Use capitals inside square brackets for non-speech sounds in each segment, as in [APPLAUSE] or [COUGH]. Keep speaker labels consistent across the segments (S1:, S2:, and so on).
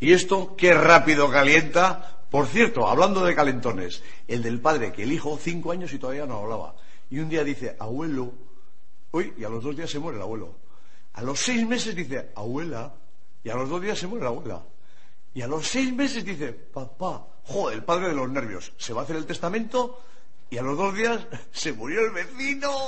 S1: Y esto, qué rápido calienta. Por cierto, hablando de calentones, el del padre que el hijo, cinco años y todavía no hablaba. Y un día dice, abuelo, uy, y a los dos días se muere el abuelo. A los seis meses dice, abuela, y a los dos días se muere la abuela. Y a los seis meses dice, papá, joder, el padre de los nervios, se va a hacer el testamento y a los dos días [LAUGHS] se murió el vecino. [LAUGHS]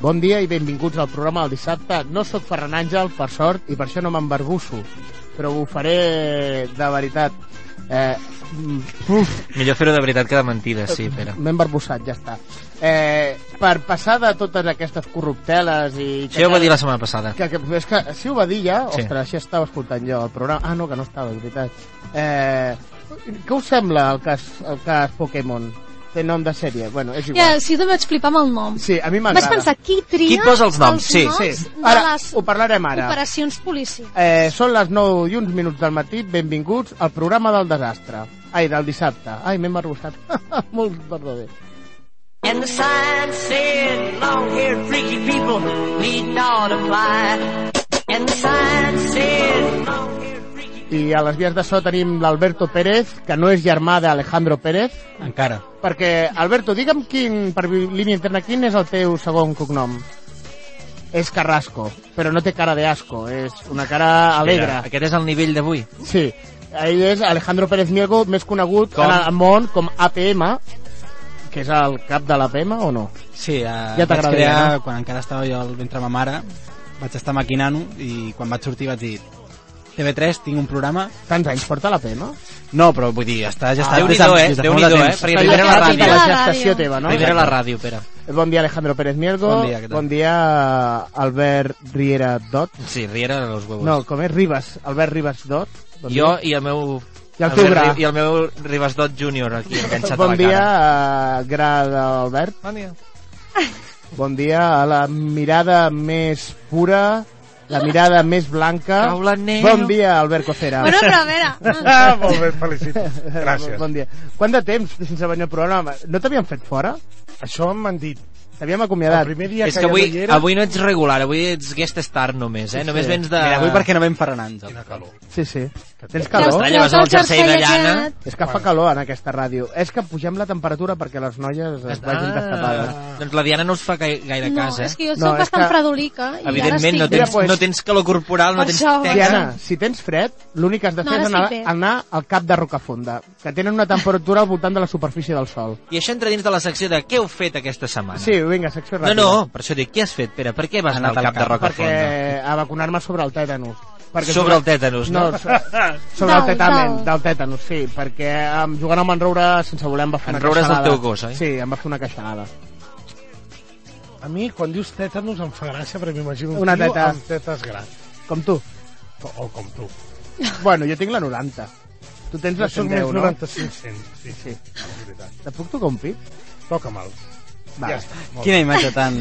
S2: Bon dia i benvinguts al programa del dissabte. No sóc Ferran Àngel, per sort, i per això no m'embarbusso, però ho faré de veritat. Eh, mm, uf,
S3: Millor fer-ho de veritat que de mentides, sí,
S2: [LAUGHS]
S3: Pere.
S2: m'he embarbussat, ja està. Eh, per passar de totes aquestes corrupteles i...
S3: Això ja ho va dir la setmana passada.
S2: Que, que, és que si ho va dir ja,
S3: Sí.
S2: ostres, ja estava escoltant jo el programa. Ah, no, que no estava, és veritat. Eh, què us sembla el cas, el cas Pokémon? Té nom de sèrie. Bueno, és igual.
S4: Ja, sí, també vaig flipar amb el nom.
S2: Sí, a mi
S4: Vaig
S2: m'agrada.
S4: pensar, qui tria
S3: Qui posa els noms? Sí,
S4: noms
S2: Sí,
S4: de
S2: ara
S4: les
S2: ho parlarem ara.
S4: operacions policia?
S2: Eh, són les 9 i uns minuts del matí. Benvinguts al programa del desastre. Ai, del dissabte. Ai, m'he embarbussat. [LAUGHS] Molt perdoner.
S5: And the sign said, long-haired freaky people need not apply. And the sign said, long-haired freaky
S2: I a les vies de so tenim l'Alberto Pérez, que no és germà d'Alejandro Pérez,
S6: Encara.
S2: perquè, Alberto, digue'm quin, per línia interna, quin és el teu segon cognom? És Carrasco, però no té cara de asco, és una cara alegre.
S3: Pere, Aquest és el nivell d'avui.
S2: Sí, ell és Alejandro Pérez Mielgo, més conegut
S3: Com?
S2: en el món com APM, que és el cap de l'APM o no?
S6: Sí, eh, ja vaig
S2: t'agradaria,
S6: crear,
S2: no?
S6: quan encara estava jo al ventre de ma mare, vaig estar maquinant-ho i quan vaig sortir vaig dir TV3, tinc un programa...
S2: Tants anys porta l'APM?
S6: No, però vull dir, està ja
S3: Ah,
S6: està
S3: Déu-n'hi-do, eh?
S6: des de fa molt de
S3: Déu-n'hi-do, eh?
S6: temps.
S3: Perquè primera la
S4: Perquè
S2: Ràdio.
S3: ràdio.
S4: la
S2: La
S4: ràdio.
S2: gestació teva, no?
S3: Primera la ràdio, Pere.
S2: Bon dia, Alejandro Pérez Miergo.
S6: Bon dia, què tal?
S2: Bon dia, Albert Riera Dot.
S3: Sí, Riera de los huevos.
S2: No, com és? Ribas. Albert Ribas Dot. Bon
S3: jo
S2: dia.
S3: i el meu...
S2: I el teu
S3: meu-
S2: gra.
S3: I el meu Ribasdot Júnior aquí enganxat
S2: Bon
S3: a la
S2: dia,
S3: cara.
S2: eh, Gra d'Albert.
S3: Bon dia.
S2: [LAUGHS] Bon dia a la mirada més pura, la mirada més blanca.
S3: Caula neu.
S2: Bon dia, Albert Cocera.
S4: Bueno, però a
S3: [LAUGHS]
S4: veure...
S7: Ah, molt bé, felicito. Gràcies.
S2: [LAUGHS] Bon dia. Quant de temps sense venir al programa? No t'havien fet fora?
S7: Això m'han dit.
S2: T'havíem
S7: El
S2: acomiadat.
S7: primer dia
S3: És que
S7: jo
S3: avui,
S7: no hi era...
S3: avui no ets regular, avui ets guest star només, eh? Només
S2: sí.
S3: vens de...
S6: Mira, avui perquè no vam Ferran Àngel.
S2: Sí, sí. Tens
S4: Dels
S2: calor?
S3: Estranya, vas amb el
S4: tres del
S3: jersei de
S4: jersei
S3: llana.
S4: aquest.
S2: És que fa calor en aquesta ràdio. És que pugem la temperatura perquè les noies es vagin destapades.
S3: Ah, doncs la Diana no us fa gai- gaire
S4: No,
S3: cas, eh?
S4: és que jo
S2: No,
S4: soc
S2: és
S4: bastant
S2: que-
S4: fredolica. i ara
S3: Evidentment, no
S4: estic-
S2: Mira,
S3: tens,
S2: pues-
S3: no tens calor corporal, no
S4: Per
S3: tens
S4: això, eh?
S3: teca.
S2: Diana, si tens fred, l'únic que has de
S4: No,
S2: fer
S4: ara
S2: és
S4: sí
S2: anar,
S4: que-
S2: anar al cap de Rocafonda, que tenen una temperatura al voltant de la superfície del sol.
S3: I això entra dins de la secció de què heu fet aquesta setmana.
S2: Sí, vinga, secció
S3: No,
S2: ràpida.
S3: no, per això dic, què has fet, Pere? Per què vas anar
S6: Anat
S3: al cap de
S2: Perquè
S3: Rocafonda?
S2: a vacunar-me sobre el tètanus. Perquè
S3: Sobre el tètanus, no?
S2: No, so- sobre
S4: Del-
S2: el tetamen,
S4: del-
S2: del tètanus, sí, perquè um, jugant amb en Roure sense voler em va fer
S3: En
S2: una
S3: Roure és el
S2: caixanada.
S3: teu gos, oi?
S2: Sí, em va fer una caixanada.
S7: A mi, quan dius tètanos, em fa gràcia, perquè m'imagino un
S2: Una
S7: tio
S2: teta.
S7: amb tetes grans.
S2: Com tu.
S7: O, o com tu.
S2: Bueno, jo tinc la 90. Tu tens la
S7: Jo soc més
S2: 110, no?
S7: 95 cent. Sí, sí. És veritat.
S2: Te puc tocar un pit?
S7: Toca mal.
S2: Va.
S7: Ja està. Molt
S6: Quina imatge tan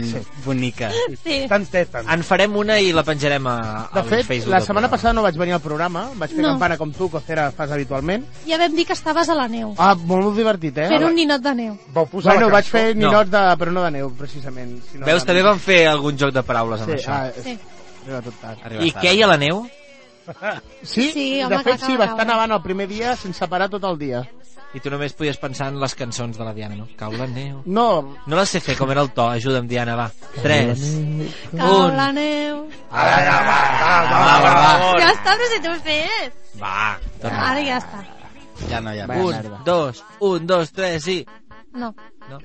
S6: bonica.
S4: [LAUGHS] Sí.
S7: bé. Tant tètan.
S3: En farem una i la penjarem a,
S2: De fet,
S3: al Ah, doncs Facebook.
S2: la setmana
S3: del programa.
S2: passada no vaig venir al programa, vaig fer
S4: No.
S2: campana com tu, Cocera, fas habitualment.
S4: Ja vam dir que estaves a la neu.
S2: Ah, molt divertit, eh?
S4: Fent un ninot de neu.
S7: Vau posar
S2: Bueno,
S7: la
S2: vaig
S7: cançó.
S2: fer
S3: No.
S2: ninots de... però no de neu, precisament. Sinó
S3: Veus,
S2: de...
S3: també vam fer algun joc de paraules amb
S2: Sí,
S3: això. Ah.
S2: ah,
S4: Sí.
S2: sí. Arriba tot tard.
S3: I què hi ha a la neu?
S2: Sí,
S4: Sí,
S2: de
S4: home, que
S2: fet
S4: acaba
S2: sí, va estar
S4: caure.
S2: nevant el primer dia sense parar tot el dia.
S3: I tu només podies pensar en les cançons de la Diana, no? Cau la neu.
S2: No,
S3: No la sé fer, com era el to? Ajuda'm, Diana, va. 3,
S4: Cau
S3: un...
S4: la neu.
S3: Ah, Va, va, va.
S4: Ja està, però si tu ho fes.
S3: Va, torna.
S4: Ara ja està.
S6: Ja no, ja no.
S2: Bueno.
S6: Uh,
S3: Un, dos, un, dos, tres i...
S4: No.
S3: No?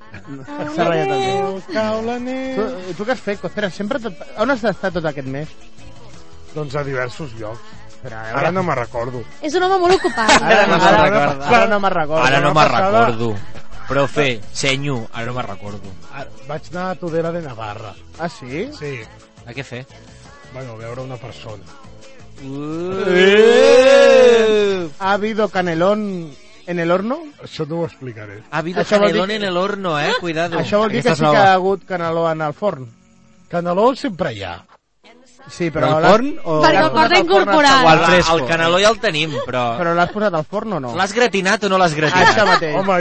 S2: s'ha ratllat el dia.
S7: Cau la neu.
S2: Tu, eh, tu què has fet, Costera? Sempre tot... On has d'estar tot aquest mes?
S7: Doncs a diversos llocs. Ara no me'n recordo.
S4: És un home molt ocupat.
S2: Ara
S3: no me'n recordo.
S2: Ara no me'n recordo.
S3: Ara
S2: La
S3: no me'n
S2: passada
S3: recordo. Profe, senyo, ara no me'n recordo.
S7: Ara- Vaig anar a Tudela de Navarra.
S2: Ah, sí?
S7: Sí.
S3: A què fer?
S7: Bueno, a veure una persona.
S2: ¿Ha habido canelón en el horno?
S7: Això no ho explicaré.
S3: Ha habido
S2: Això vol dir
S3: canelón
S2: que-
S3: en el horno, eh? Cuidado.
S2: Això vol dir
S3: Aquesta
S2: que
S3: és
S2: sí que
S3: nova.
S2: ha hagut caneló en el forn.
S7: Caneló sempre hi ha.
S2: Sí,
S6: Però
S2: però...
S6: el
S2: l'has-
S6: porn o-
S2: l'has
S4: Perquè el
S2: posat al
S4: porno
S2: forn
S4: incorporat.
S2: hasta
S3: El,
S2: guardar.
S6: fresco.
S3: el canaló ja el tenim, però...
S2: Però l'has posat al forn o no? Ah,
S3: L'has gratinat o no l'has gratinat?
S2: Això mateix.
S7: Home,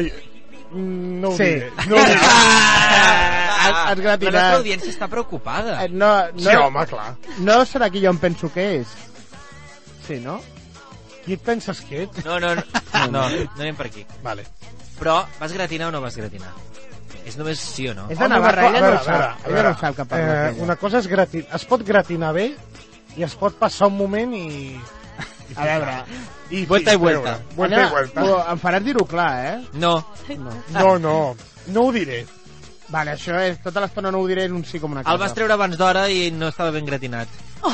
S7: mm, no ho
S2: Sí.
S7: diré. No ho diré.
S2: Has, has
S3: Ah! La nostra
S2: gratinat.
S3: audiència està preocupada.
S2: Eh, No, [LAUGHS] no,
S7: Sí, home, clar.
S2: no serà qui jo em penso que és. Sí, no?
S7: Qui et penses que ets?
S3: No, no, no, no, no anem per aquí.
S7: Vale.
S3: Però vas gratinar o no vas gratinar? És només sí o no.
S2: És
S7: Home,
S2: de Navarra,
S7: una
S2: ella
S7: co-
S2: no
S7: a veure,
S2: ho sap. Ella no
S7: a veure, a
S2: ho
S7: veure.
S2: sap que parla
S7: Eh, una cosa és gratin... Es pot gratinar bé i es pot passar un moment i...
S2: A veure,
S7: I
S3: Vuelta
S7: sí,
S3: i vuelta.
S7: treure. Vuelta i vuelta.
S2: Ana, em faràs dir-ho clar, eh?
S3: No,
S7: No, no. No ho diré.
S2: Vale, això és... Tota l'estona no ho diré, és un sí com una casa.
S3: el vas treure abans d'hora i no estava ben gratinat. Oh!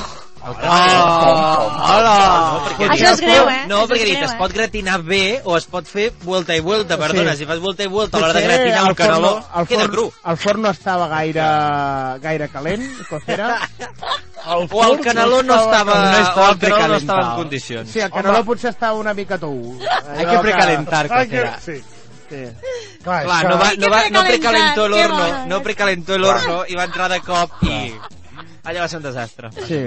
S3: Hola! No, perquè
S4: Això
S3: dit-
S4: és greu, eh?
S3: No,
S4: Això és
S3: perquè dit,
S4: greu,
S3: es
S4: eh?
S3: pot gratinar bé o es pot fer vuelta i vuelta, perdona, si fas vuelta i vuelta a l'hora de
S2: Potser
S3: gratinar
S2: el
S3: un caneló,
S2: forn no- el
S3: queda
S2: forn-
S3: cru.
S2: El forn no estava gaire, gaire calent,
S3: [LAUGHS]
S2: cocera.
S3: O el caneló no estava,
S2: no estava
S3: o el caneló no estava en
S6: precalentado.
S3: condicions.
S2: Sí, el caneló potser estava una mica tou.
S6: Hay que precalentar,
S7: Ai, que-
S6: cocera.
S7: Sí.
S2: Sí.
S7: Clar,
S3: Clar,
S7: és que-
S3: no, va,
S4: Ai,
S3: no,
S4: que
S3: va, no
S4: precalentat,
S3: precalentó
S4: que
S3: l'horno,
S4: bona.
S3: no precalentó l'horno i va entrar de cop i... Allà va ser un desastre.
S2: Sí.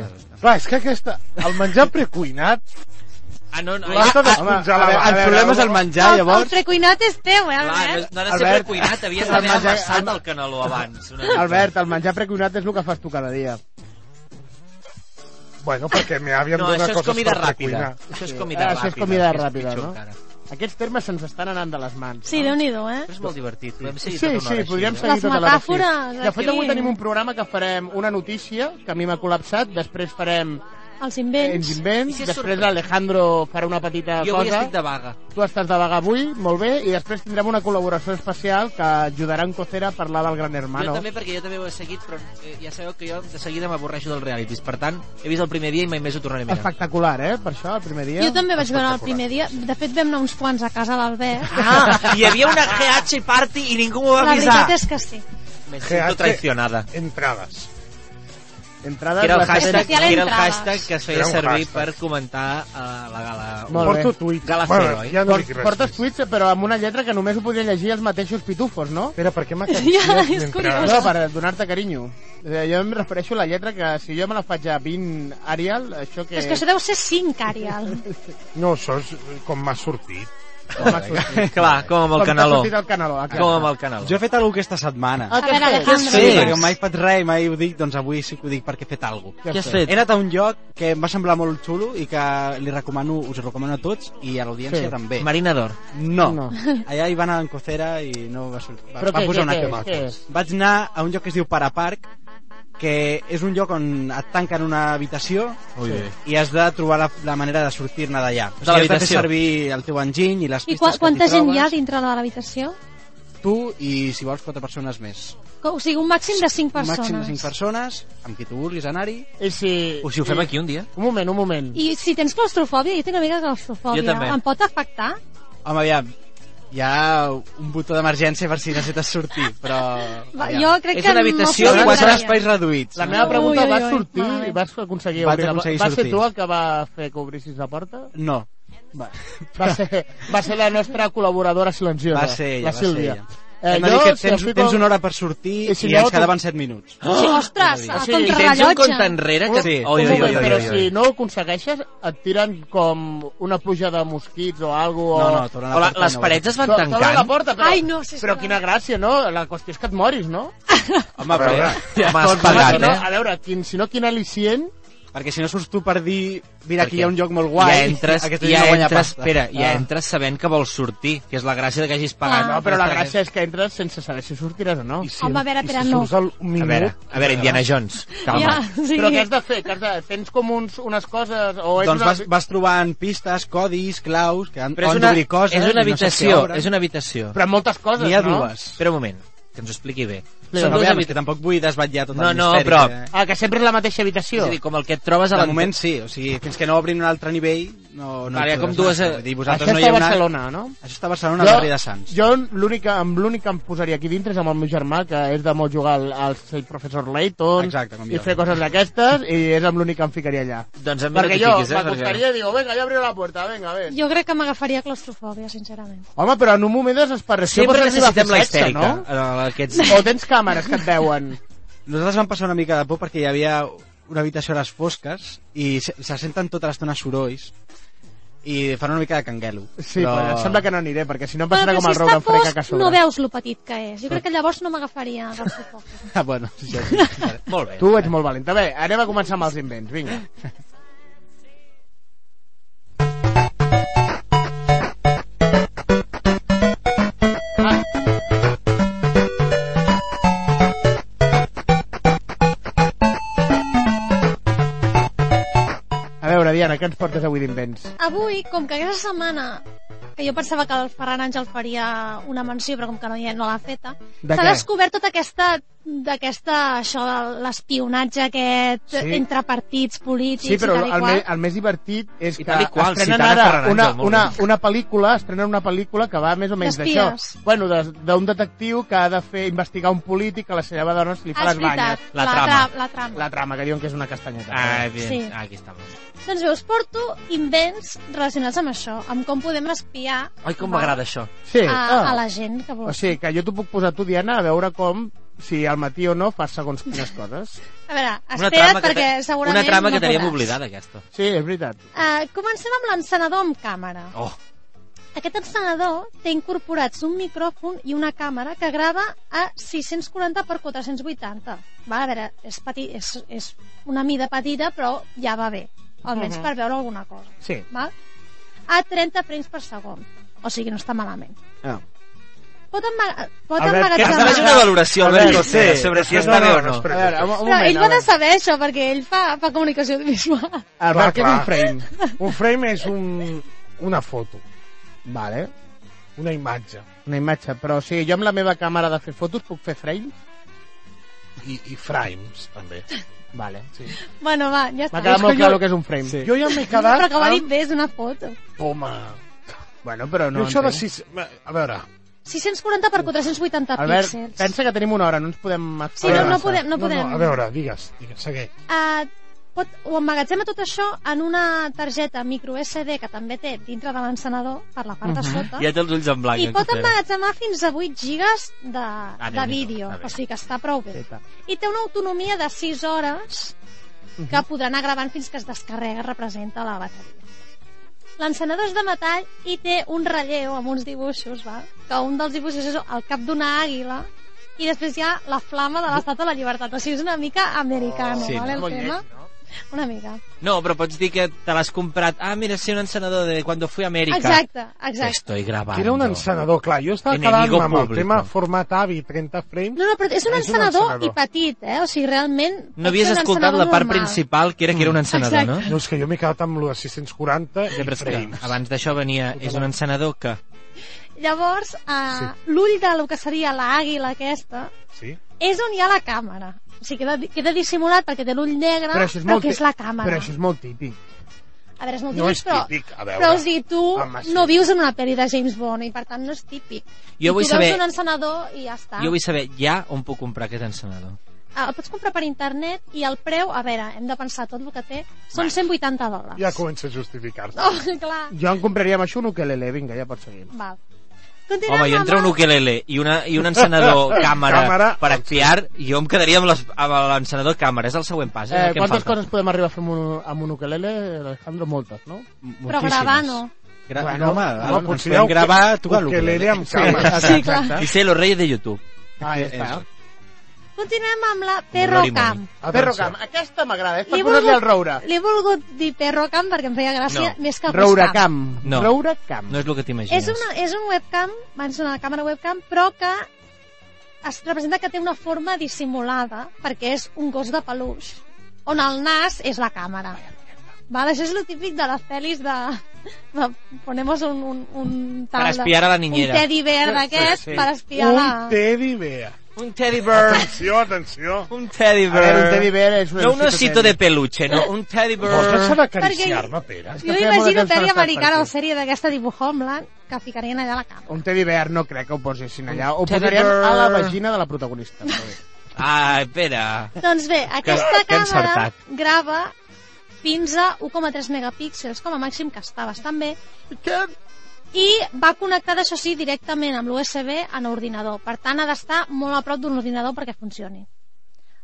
S7: Clar, és que aquesta... El menjar precuinat
S3: Ah, no, no,
S7: l'has de
S3: ah,
S7: descongelar.
S2: a veure, Ah,
S6: El problema és el menjar,
S4: el, el
S6: llavors.
S4: precuinat és teu, eh,
S3: Clar, ah, no,
S4: Albert?
S3: no ha de ser
S2: Albert,
S3: precuinat, havies
S2: el
S3: d'haver
S2: menjar-
S3: amassat el caneló abans. Una mica.
S2: Albert, el menjar precuinat és el que fas tu cada dia.
S7: Bueno, perquè me
S2: [LAUGHS]
S7: havien
S3: No,
S7: donat
S3: això és
S7: coses
S3: comida
S7: per
S3: ràpida.
S7: precuinar.
S3: Això és
S2: Sí.
S3: comida
S2: Ah,
S3: ràpida.
S2: això és comida
S3: que
S2: ràpida,
S3: pitjor
S2: no?
S3: encara.
S2: Aquests termes se'ns estan anant de les mans.
S4: Sí, déu-hi-do, eh?
S3: Però és molt divertit. Podem seguir
S2: Sí,
S3: tota una
S2: sí,
S3: hora així,
S2: podríem
S3: eh?
S2: seguir
S4: Les
S2: tota l'hora així.
S4: metàfores,
S2: De fet,
S4: aquí.
S2: avui tenim un programa que farem una notícia, que a mi m'ha col·lapsat, després farem ens
S4: Els invents.
S2: invents,
S3: I si és
S2: després
S3: sorpresa?
S2: l'Alejandro farà una petita
S3: Jo avui
S2: cosa,
S3: estic de vaga.
S2: tu estàs de vaga avui, molt bé, i després tindrem una col·laboració especial que ajudarà en Cocera a parlar del Gran
S3: Jo
S2: Hermano.
S3: també, perquè jo també ho he seguit, però eh, ja sabeu que jo de seguida m'avorreixo dels realities. Per tant, he vist el primer dia i mai més ho tornaré a mirar.
S2: Espectacular, eh? Per això, el primer dia.
S4: Jo també vaig veure el primer dia. De fet, vam anar uns quants a casa a l'Albert.
S3: Ah, hi havia una GH party i ningú m'ho va
S4: La
S3: avisar.
S4: veritat és que sí.
S3: Me siento traicionada.
S7: Entrades.
S2: Entrades,
S3: Que era el
S2: les que
S3: hashtag,
S4: especial
S3: que era el
S4: entrades.
S3: hashtag que es
S7: Era
S3: feia
S7: un
S3: servir
S7: hashtag.
S3: per comentar eh, la gala.
S2: Molt bé.
S7: Porto tuits.
S3: Galacero,
S7: bueno,
S3: eh?
S7: ja no
S2: Por,
S7: dic res.
S2: portes tuits, però amb una lletra que només ho podrien llegir els mateixos pitufos, no?
S7: Espera, per
S2: [LAUGHS]
S7: què m'acarcies
S4: Ja, és
S6: Ah.
S7: mentre...
S4: curiós.
S2: No, per donar-te carinyo. Eh, Jo em refereixo a la lletra que si jo me la faig a 20 Arial, això que...
S4: És que això deu ser 5, Ariel.
S7: No, això és com m'ha sortit.
S2: Com ha sortit.
S3: Clar, com amb el canaló.
S2: Com t'ha sortit el canaló. ah, clar.
S3: Com amb el canaló.
S6: Jo he fet alguna cosa aquesta setmana.
S2: Ah,
S4: A
S2: què
S4: veure,
S2: has fet?
S4: Alejandro.
S6: Sí,
S3: sí.
S6: perquè mai faig res i mai ho dic, doncs avui sí que ho dic perquè he fet alguna cosa.
S2: Què has
S6: He anat a un lloc que em va semblar molt xulo i que li recomano, us ho recomano a tots i a l'audiència
S2: Sí.
S6: també.
S3: Marina d'or.
S6: No.
S2: No.
S6: no. [LAUGHS] Allà hi va anar en cocera i no va, sortir. va,
S2: Però
S6: va
S2: què,
S6: posar
S2: què,
S6: una
S2: què
S6: crema.
S2: és, què és?
S6: Vaig anar a un lloc que es diu Paraparc, que és un lloc on et tanquen una habitació
S3: Ui,
S6: i has de trobar la, la manera de sortir-ne d'allà. O
S3: De
S6: sigui, has de fer
S3: l'habitació.
S6: servir el teu enginy i les
S4: I
S6: pistes
S4: qua,
S6: que
S4: quanta
S6: t'hi
S4: gent
S6: trobes,
S4: hi ha dintre de l'habitació?
S6: Tu i, si vols, quatre persones més.
S4: Co- O sigui, un màxim de 5
S6: Un màxim de
S4: persones.
S6: cinc persones, amb qui tu vulguis anar-hi.
S2: I si...
S3: O si ho fem aquí un dia.
S2: Un moment, un moment. I...
S4: I si tens claustrofòbia, jo tinc una mica de
S3: Jo
S4: claustrofòbia.
S3: també.
S4: Em pot afectar?
S6: Home, aviam, hi ha un botó d'emergència per si necessites sortir, però...
S4: Va,
S6: aviam.
S4: jo crec
S3: És
S4: que...
S3: una
S4: no
S3: habitació de
S4: sé si
S6: Quan
S3: quatre
S6: són
S4: m'agradaria.
S6: espais reduïts.
S2: La meva pregunta,
S4: Ui, ui,
S2: vas
S4: ui,
S2: sortir
S4: vale.
S2: i vas aconseguir...
S6: Vaig
S2: obrir-
S6: aconseguir
S2: va, va ser
S6: sortir.
S2: tu el que va fer que obrissis la porta?
S6: No,
S2: Va, va, ser, va ser la nostra col·laboradora silenciosa.
S6: va ser ella,
S2: la
S6: va ser
S2: Sílvia.
S6: ella. Eh, Hem de dir que tens, tens una hora per sortir
S2: I
S6: i,
S2: si
S6: si
S2: no,
S6: ens
S2: tu-
S6: quedaven 7 minuts.
S4: Sí, ostres, a
S2: Sí, i
S3: I tens un compte
S4: contrarrellotge.
S3: enrere que...
S6: Sí.
S3: Oi,
S2: un
S3: oi,
S2: moment,
S3: oi,
S2: però
S3: oi, oi.
S2: si no ho aconsegueixes, et tiren com una pluja de mosquits o algo.
S6: No,
S2: O...
S6: no, torna
S3: O la, les parets es van
S2: T'obren la
S3: tancant.
S2: porta, però,
S4: Ai, no, sisplau.
S2: però quina gràcia, no? La qüestió és que et moris, no? Doncs,
S6: Home, però,
S3: Ja m'has
S2: si
S3: pagat,
S2: no,
S3: eh?
S2: A veure, quin, si no, quin al·licient...
S6: perquè si no surts tu per dir
S3: Per
S6: mira, aquí
S3: què?
S6: hi ha un lloc molt guai,
S3: ja entres,
S6: aquest
S3: ja
S6: dia guanya
S3: entres,
S6: pasta.
S3: espera, ja
S6: Ah.
S3: entres sabent que vols sortir, que és la gràcia de que hagis pagat.
S4: Ah.
S2: No, però la gràcia és que entres sense saber si sortiràs o no.
S7: I
S4: Home, a veure,
S7: i
S4: espera,
S7: si
S4: no.
S7: surts al un
S3: A veure,
S7: minut...
S3: a veure, Indiana Jones, calma.
S4: Ja, sí.
S2: Però què has de fer? Que has de... Tens com uns, unes coses... O ets
S6: Doncs
S2: una...
S6: vas, vas trobant pistes, codis, claus, que han,
S3: Però és
S6: han
S3: una,
S6: d'obrir coses...
S3: és una
S6: i no saps què
S3: habitació,
S6: obren.
S3: és una habitació.
S2: Però amb moltes coses,
S6: N'hi ha
S2: no?
S6: dues.
S3: Espera un moment, que ens ho expliqui bé.
S6: Però,
S3: Són dues
S6: aviam, és que
S3: habitacions.
S6: tampoc vull desvetllar tot el
S3: No, no,
S6: misteri. eh?
S3: però-
S6: que-
S2: Ah, que sempre és la mateixa
S3: És
S2: habitació.
S3: a dir, com el que et trobes a
S6: De
S3: la...
S6: moment sí, o sigui, fins que no obrin un altre nivell... No, no
S3: Clar, hi ha
S6: hi podràs
S3: com
S6: anar.
S3: dues, eh,
S6: Vull dir,
S2: Això
S6: vosaltres no hi
S2: està
S6: heu
S2: a
S6: anat...
S2: Barcelona, no?
S6: Això està a Barcelona, al barri de Sants.
S2: Jo l'únic amb l'únic que em posaria aquí dintre és amb el meu germà, que és de molt jugar al, al Save Professor Layton
S6: Exacte, com
S2: i
S6: jo.
S2: fer coses d'aquestes, i és amb l'únic que em ficaria allà.
S3: Doncs a mi no
S2: Perquè
S3: t'hi
S2: jo
S3: fiquis, eh?
S2: m'acostaria i digo, venga, jo abriré la puerta, venga, ven.
S4: Jo crec que m'agafaria claustrofòbia, sincerament.
S2: Home, però en un moment de desesperació
S3: Sempre
S2: pots arribar a fer
S3: necessitem la
S2: sexe,
S3: histèrica. Eh,
S2: no?
S3: [LAUGHS] en Aquests...
S2: O tens càmeres que et veuen.
S6: Nosaltres vam passar una mica de por perquè hi havia una habitació a les fosques i se, se senten tota l'estona sorolls i fan una mica de canguelo.
S2: Sí, però... em sembla que no aniré, perquè si no em passarà
S4: però
S2: com
S4: si
S2: el Rock
S4: està
S2: en Freca
S4: fosc,
S2: que sobre.
S4: no veus lo petit que és. Jo crec que llavors no m'agafaria del sofort.
S6: Ah, bueno, sí, [LAUGHS] sí.
S3: Molt bé.
S2: Tu ets molt valent. Bé, anem a començar amb els invents, vinga. Ah. A veure, Diana, què ens portes avui d'invents?
S4: Avui, com que aquesta setmana que jo pensava que el Ferran Àngel faria una menció, però com que no, hi ha- no l'ha feta,
S2: De
S4: s'ha
S2: què?
S4: descobert tot aquesta, d'aquesta, això de l'espionatge aquest
S2: Sí.
S4: entre partits polítics
S2: Sí, però
S4: i tal i
S2: el, me,
S4: qual.
S2: el més divertit és
S3: I
S2: que
S3: tal i qual,
S2: estrenen
S3: citant a
S2: ara
S3: Ferran
S2: una,
S3: Àngel, molt
S2: una,
S3: bé.
S2: una pel·lícula, estrenen una pel·lícula que va més o menys d'això.
S4: D'espies.
S2: Bueno, de- d'un detectiu que ha de fer investigar un polític que la senyava dona se li fa
S4: Ah, és
S2: les
S4: veritat,
S2: banyes.
S3: La
S4: la,
S3: trama.
S4: tra- la trama.
S2: La trama, que diuen que és una castanyeta.
S3: Ah, bien.
S4: Sí.
S3: Ah, aquí estamos.
S4: Doncs bé, us porto invents relacionats amb això, amb com podem espiar
S3: Ai, com m'agrada això.
S2: sí.
S4: a,
S2: ah.
S4: a la gent que vol.
S2: O sigui, que jo t'ho puc posar tu, Diana, a veure com si al matí o no fas segons quines coses.
S4: A veure,
S3: Una
S4: espera't
S3: que
S4: perquè
S3: te-
S4: segurament
S3: Una trama
S4: no
S3: que teníem
S4: podràs.
S3: oblidada, aquesta.
S2: Sí, és veritat.
S4: Uh, comencem amb l'encenedor amb càmera.
S3: Oh,
S4: Aquest encenedor té incorporats un micròfon i una càmera que grava a 640 x 480. Va, a veure, és, petit, és, és una mida petita, però ja va bé. Almenys per veure alguna cosa.
S2: Mhm. Sí.
S4: Val? A 30 frames per segon. O sigui, no està malament.
S2: Ah.
S4: Pot, emma pot
S2: Albert, que
S3: has de
S4: emmagatzemar...
S3: fer una valoració,
S2: Albert,
S3: Albert,
S2: sí.
S3: José, sobre si està bé
S2: A
S3: o no.
S2: veure, un, un
S4: Però
S2: moment.
S4: ell
S2: a
S4: va de
S2: veure.
S4: saber això, perquè ell fa, fa comunicació audiovisual. [LAUGHS]
S2: Albert, què és un
S7: Clar,
S2: frame?
S7: Un frame és un, una foto,
S2: Vale,
S7: una imatge.
S2: una imatge. Però o sigui, jo amb la meva càmera de fer fotos puc fer frames?
S7: I, i frames, també.
S2: Vale. Sí.
S4: Bueno, va, ja està.
S2: M'ha quedat
S7: És
S2: molt
S7: que
S2: clar
S7: jo-
S2: el que és un frame.
S7: Sí. Jo ja m'he quedat...
S4: Però que ho ha dit
S7: amb-
S4: bé, és una foto.
S7: Home,
S2: Bueno, però
S7: no
S2: no
S7: jo això de
S2: entenc.
S7: sis... A veure,
S4: 640 per 480
S2: Albert,
S4: píxels.
S2: pensa que tenim una hora, no ens podem...
S4: Ah, Sí, no, no
S2: massa.
S4: podem. No podem.
S7: No, no, a veure, digues, digues, segueix.
S4: Eh, pot, ho emmagatzema tot això en una targeta micro SD que també té dintre de l'encenedor per la part de sota
S3: Ja té els ulls en blanc.
S4: Mhm.
S3: eh,
S4: i
S3: en
S4: pot
S3: Costera.
S4: emmagatzemar fins a 8 gigas de, de
S3: Déu-n'hi-do.
S4: vídeo,
S3: Ah, bé.
S4: o sigui que està prou bé.
S2: Feta.
S4: I té una autonomia de 6 hores
S2: Mhm.
S4: que podrà anar gravant fins que es descarrega, representa la bateria. L'encenedor és de metall i té un relleu amb uns dibuixos, va? que un dels dibuixos és el cap d'una àguila i després hi ha la flama de l'estat de la llibertat. O sigui, és una mica americano,
S3: Sí, no?
S4: vale, el
S2: Oh, Molt
S4: tema?
S2: lleig, no?
S4: Una mica.
S3: No, però pots dir que te l'has comprat. Ah, mira, sí, un encenador de cuando fui a América.
S4: Exacte,
S3: Te
S4: exact.
S3: Estoy grabando.
S7: Era un encenador, clar, jo estava
S3: Enemigo
S7: quedant amb el
S3: público.
S7: tema format AVI, 30 frames...
S4: No, no, però és un encenador, i petit, eh? O sigui, realment... pot
S3: No havies
S4: ser un
S3: escoltat
S4: encenador
S3: la part
S4: normal.
S3: principal, que era que era un encenador,
S4: Exacte.
S3: no?
S7: No, és que jo m'he quedat amb lo de 640 i
S3: Ja, però és que
S7: frames.
S3: abans d'això venia... És un encenador que...
S4: Llavors, eh, l'ull de lo que seria l'àguila aquesta
S7: Sí?
S4: és on hi ha la càmera. O sigui, queda, queda dissimulat perquè té l'ull negre,
S2: Però
S4: però,
S2: això és molt
S4: però que
S2: tí-
S4: és la càmera.
S2: Però això és molt típic.
S4: A veure, és molt
S7: No
S4: típic,
S7: és
S4: però...
S7: típic, a veure.
S4: Però, o sigui, tu
S7: Home, sí.
S4: no vius en una pel·li de James Bond i, per tant, no és típic.
S3: Jo
S4: I
S3: vull
S4: tu
S3: saber-
S4: veus un encenador i ja està.
S3: Jo vull saber ja on puc comprar aquest encenador.
S4: Ah, el pots comprar per internet i el preu, a veure, hem de pensar tot el que té, són 180 dòlars.
S7: Ja comença a justificar-se.
S4: Oh, clar.
S2: Jo en compraria amb això un ukelele, vinga, ja pots seguir.
S4: Val. Continuem
S3: Home, i
S4: amb
S3: entre un
S4: el-
S3: ukelele i, una, i un encenador càmera,
S7: Càmera,
S3: per espiar, jo em quedaria amb les- amb l'encenador càmera. És el següent pas. És
S2: Eh,
S3: el que em
S2: quantes
S3: falta.
S2: coses podem arribar a fer amb un, amb un ukelele, Alejandro? Moltes, no?
S4: Però gravar no.
S6: Gra
S2: Bueno,
S6: bueno, home,
S2: bueno,
S6: home, ens
S7: potser
S6: podem
S7: que-
S6: gravar tu a
S7: que l'he amb
S2: Sí,
S7: càmera.
S4: Sí, clar.
S2: exacte.
S3: I ser los reyes de YouTube.
S2: Ah, ja està.
S4: Continuem amb la
S3: l'Ori
S4: Perrocamp.
S2: Perrocam, aquesta m'agrada, és per
S4: Li he
S2: posar-li
S4: volgut-
S2: al roure.
S4: L'he volgut dir Perrocamp perquè em feia gràcia
S3: No.
S4: més que Buscamp.
S2: Rouracam.
S3: No.
S2: Rouracam.
S3: No és el que t'imagines.
S4: És, una, és un webcam, abans una càmera webcam, però que es representa que té una forma dissimulada perquè és un gos de peluix on el nas és la càmera. Val, això és lo típic de les pel·lis de... de ponemos un, un, un tal...
S3: Per espiar a la niñera.
S4: Un teddy bear d'aquest
S2: Sí, sí.
S4: per espiar la...
S7: Un teddy bear.
S3: Un teddy bear.
S7: Atenció, atenció.
S3: Un teddy
S2: A veure,
S3: bear.
S2: un teddy bear és un
S3: No un
S2: osito
S3: osito
S2: teddy.
S3: de peluche, no. Un teddy
S7: Vols deixar
S3: bear.
S7: d'acariciar-me, Pere?
S2: És que
S4: Jo
S2: feia molt de
S4: m'imagino
S2: temps que no
S4: pel·li
S2: estava
S4: americana
S2: per
S4: o sèrie d'aquesta tipus Homeland que ficarien allà a la càmera.
S2: Un teddy bear no crec que ho posessin allà. Ho
S3: teddy
S2: posarien
S3: bear.
S2: a la vagina de la protagonista. però bé.
S3: Ah, espera.
S4: [LAUGHS] Doncs bé, aquesta
S3: que
S4: càmera
S3: encertat.
S4: grava fins a 1,3 megapíxels, com a màxim que està bastant bé, i va connectada, això sí, directament amb l'USB en ordinador. Per tant, ha d'estar molt a prop d'un ordinador perquè funcioni.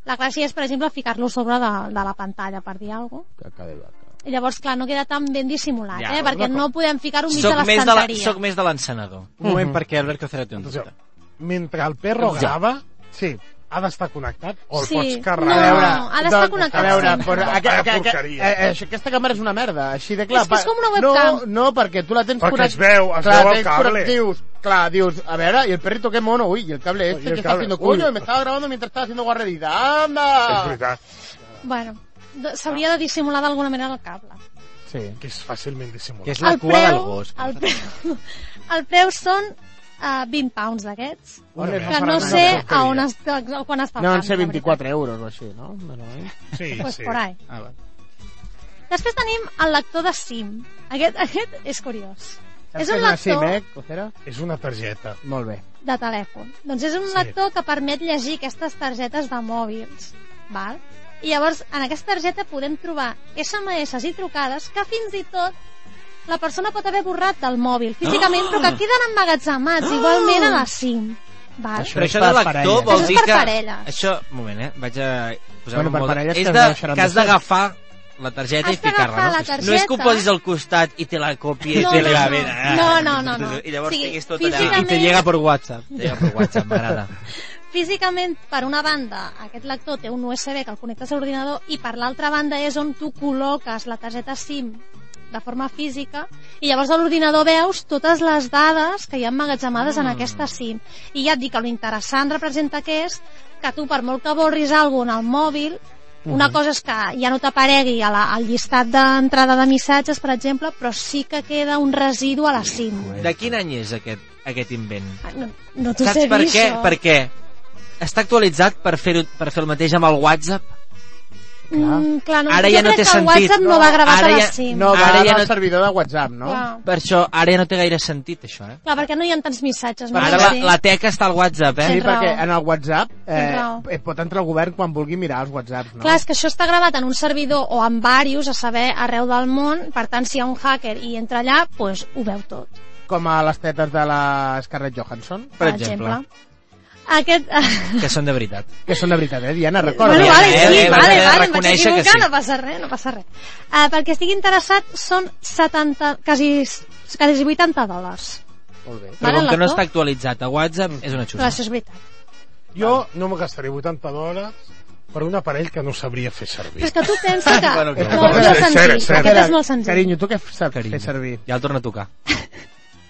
S4: La gràcia és, per exemple, ficar-lo sobre de, de la pantalla, per dir alguna cosa.
S8: Caca de vaca.
S4: I llavors, clar, no queda tan ben dissimulat,
S3: Ja,
S4: eh? Perquè
S3: d'acord.
S4: no podem ficar-ho mig de
S3: Soc més, de la,
S4: l'estanteria.
S3: soc més de l'encenador.
S6: Un moment, perquè Albert Cocera té un
S7: Atenció,
S6: dubte.
S7: mentre el perro
S3: Ja.
S7: grava, sí, ha d'estar connectat o el
S4: Sí,
S7: pots
S4: no,
S7: carregar.
S2: A veure,
S4: ha d'estar
S2: doncs,
S4: connectat
S2: A veure,
S4: sempre.
S2: però, aqu aqu aqu
S7: porqueria.
S2: eh, eh, això- aquesta càmera és una merda, així de clar.
S4: És que és
S2: pa-
S4: com una webcam.
S2: No, no perquè tu la tens
S7: Perquè
S2: connect-
S7: es veu, es
S2: clar,
S7: veu el
S2: tens
S7: cable.
S2: connect- Dius, clar, dius, a veure, y el perrito qué mono, uy, y el cable
S7: Uy,
S2: este
S7: el
S2: que está
S7: cable,
S2: haciendo
S7: uy.
S2: coño, me estaba grabando mientras estaba haciendo guarrerita,
S7: És
S2: anda.
S7: veritat,
S4: Bueno, de-
S2: Ah.
S4: s'hauria de dissimular d'alguna manera el cable.
S2: Sí.
S7: que és fàcilment dissimulat.
S6: Que és la
S4: el
S6: cua
S4: preu,
S6: del gos.
S4: El preu, [LAUGHS] el preu són uh, 20 pounds d'aquests,
S7: Una
S2: Que
S4: que
S7: merda.
S4: no
S7: Una
S4: sé a
S7: porqueria.
S4: on està, quan està. el
S2: No, en
S4: cable,
S2: sé
S4: la
S2: 24 euros o així, no? Bueno, eh?
S7: Sí,
S4: veritat. Pues
S7: sí.
S4: por ahí.
S6: Ah, va.
S4: Després tenim el lector de SIM. Aquest, aquest és curiós.
S2: Saps
S4: És
S2: que
S4: un
S2: una
S4: lector
S2: SIM, eh, Cocera?
S7: És una targeta.
S2: Molt bé.
S4: de telèfon. Doncs és un
S7: Sí.
S4: lector que permet llegir aquestes targetes de mòbils. Val? I llavors, en aquesta targeta podem trobar SMS i trucades que fins i tot la persona pot haver borrat del mòbil físicament, però que queden emmagatzemats igualment a la SIM. Val?
S2: Això
S3: Però
S2: és
S3: això
S2: per
S3: de l'actor
S2: parelles.
S4: Això
S3: vol
S4: és
S3: dir
S4: per
S3: que...
S4: parelles.
S3: Això, un moment, eh? Vaig a posar
S2: Bueno,
S3: bueno,
S2: per
S3: molt...
S2: parelles
S3: És
S2: que
S3: de,
S2: no deixaran
S3: que has
S2: de ser.
S3: d'agafar la targeta
S4: Has
S3: i ficar-la, no?
S4: d'agafar la
S3: No és que ho
S4: targeta.
S3: posis al costat i te la copies
S4: No,
S3: i te la Ah,
S4: no, no. No, no, no, no.
S3: eh? I llavors
S4: Sí,
S3: tinguis tot allà.
S4: físicament-
S6: I te llega per WhatsApp.
S3: Te llega per WhatsApp, m'agrada.
S4: Físicament, per una banda, aquest lector té un USB que el connectes a l'ordinador i per l'altra banda és on tu col·loques la targeta SIM de forma física i llavors a l'ordinador veus totes les dades que hi ha emmagatzemades
S3: Ah.
S4: en aquesta SIM. I ja et dic que l'interessant representa que és que tu, per molt que borris alguna al mòbil, una cosa és que ja no t'aparegui a la- al llistat d'entrada de missatges, per exemple, però sí que queda un residu a la SIM.
S3: De quin any és aquest, aquest invent?
S4: No, no t'ho
S3: Saps
S4: sé
S3: per
S4: dir,
S3: què?
S4: això.
S3: Perquè està actualitzat per fer, per fer el mateix amb el WhatsApp.
S4: Mm, clar, no,
S3: Ara
S4: jo
S3: ja no
S4: crec
S3: té
S4: que el
S3: sentit.
S4: WhatsApp no,
S3: No,
S4: va gravat
S3: ara
S4: a la
S3: ja-
S4: SIM.
S2: No, va
S3: Ara ja
S2: al
S3: no-
S2: servidor de WhatsApp, no?
S4: Clar.
S3: Per això ara ja no té gaire sentit, això, eh?
S4: Clar, perquè no hi ha tants missatges. No
S3: Ara la, la teca està al WhatsApp, eh?
S2: Sí,
S4: Tens
S2: perquè
S4: raó.
S2: en el WhatsApp
S4: Tens
S2: eh,
S4: raó.
S2: eh, pot entrar el govern quan vulgui mirar els WhatsApps, no?
S4: Clar, és que això està gravat en un servidor o en varios, a saber, arreu del món. Per tant, si hi ha un hacker i entra allà, doncs ho veu tot,
S2: Com a les tetes de la Scarlett Johansson,
S4: per,
S3: Per exemple.
S4: exemple. Aquest... [LAUGHS]
S3: Que són de veritat.
S2: que són de veritat, eh, Diana? Recorda.
S4: Bueno, vale,
S3: eh,
S4: sí,
S3: eh, eh,
S4: vale, vale, em vaig
S3: reconèixer que
S4: equivocar,
S3: sí.
S4: no passa res, no passa res. Uh, perquè estigui interessat, són 70, quasi, quasi 80 dòlars.
S2: Molt bé.
S3: Però
S4: Vale,
S3: com que no
S4: l'actor?
S3: està actualitzat a WhatsApp, és una
S4: Però
S3: xusta.
S4: això és veritat.
S7: Jo no me gastaré 80 dòlars per un aparell que no sabria fer servir.
S4: Però és que tu pensa
S2: [LAUGHS]
S4: que...
S3: Bueno, clar.
S4: molt, molt
S7: Cert,
S4: senzill.
S7: cert.
S4: Aquest és molt senzill.
S2: Carinyo, tu què saps
S3: Carinyo.
S2: fer servir?
S3: Ja el torna a tocar.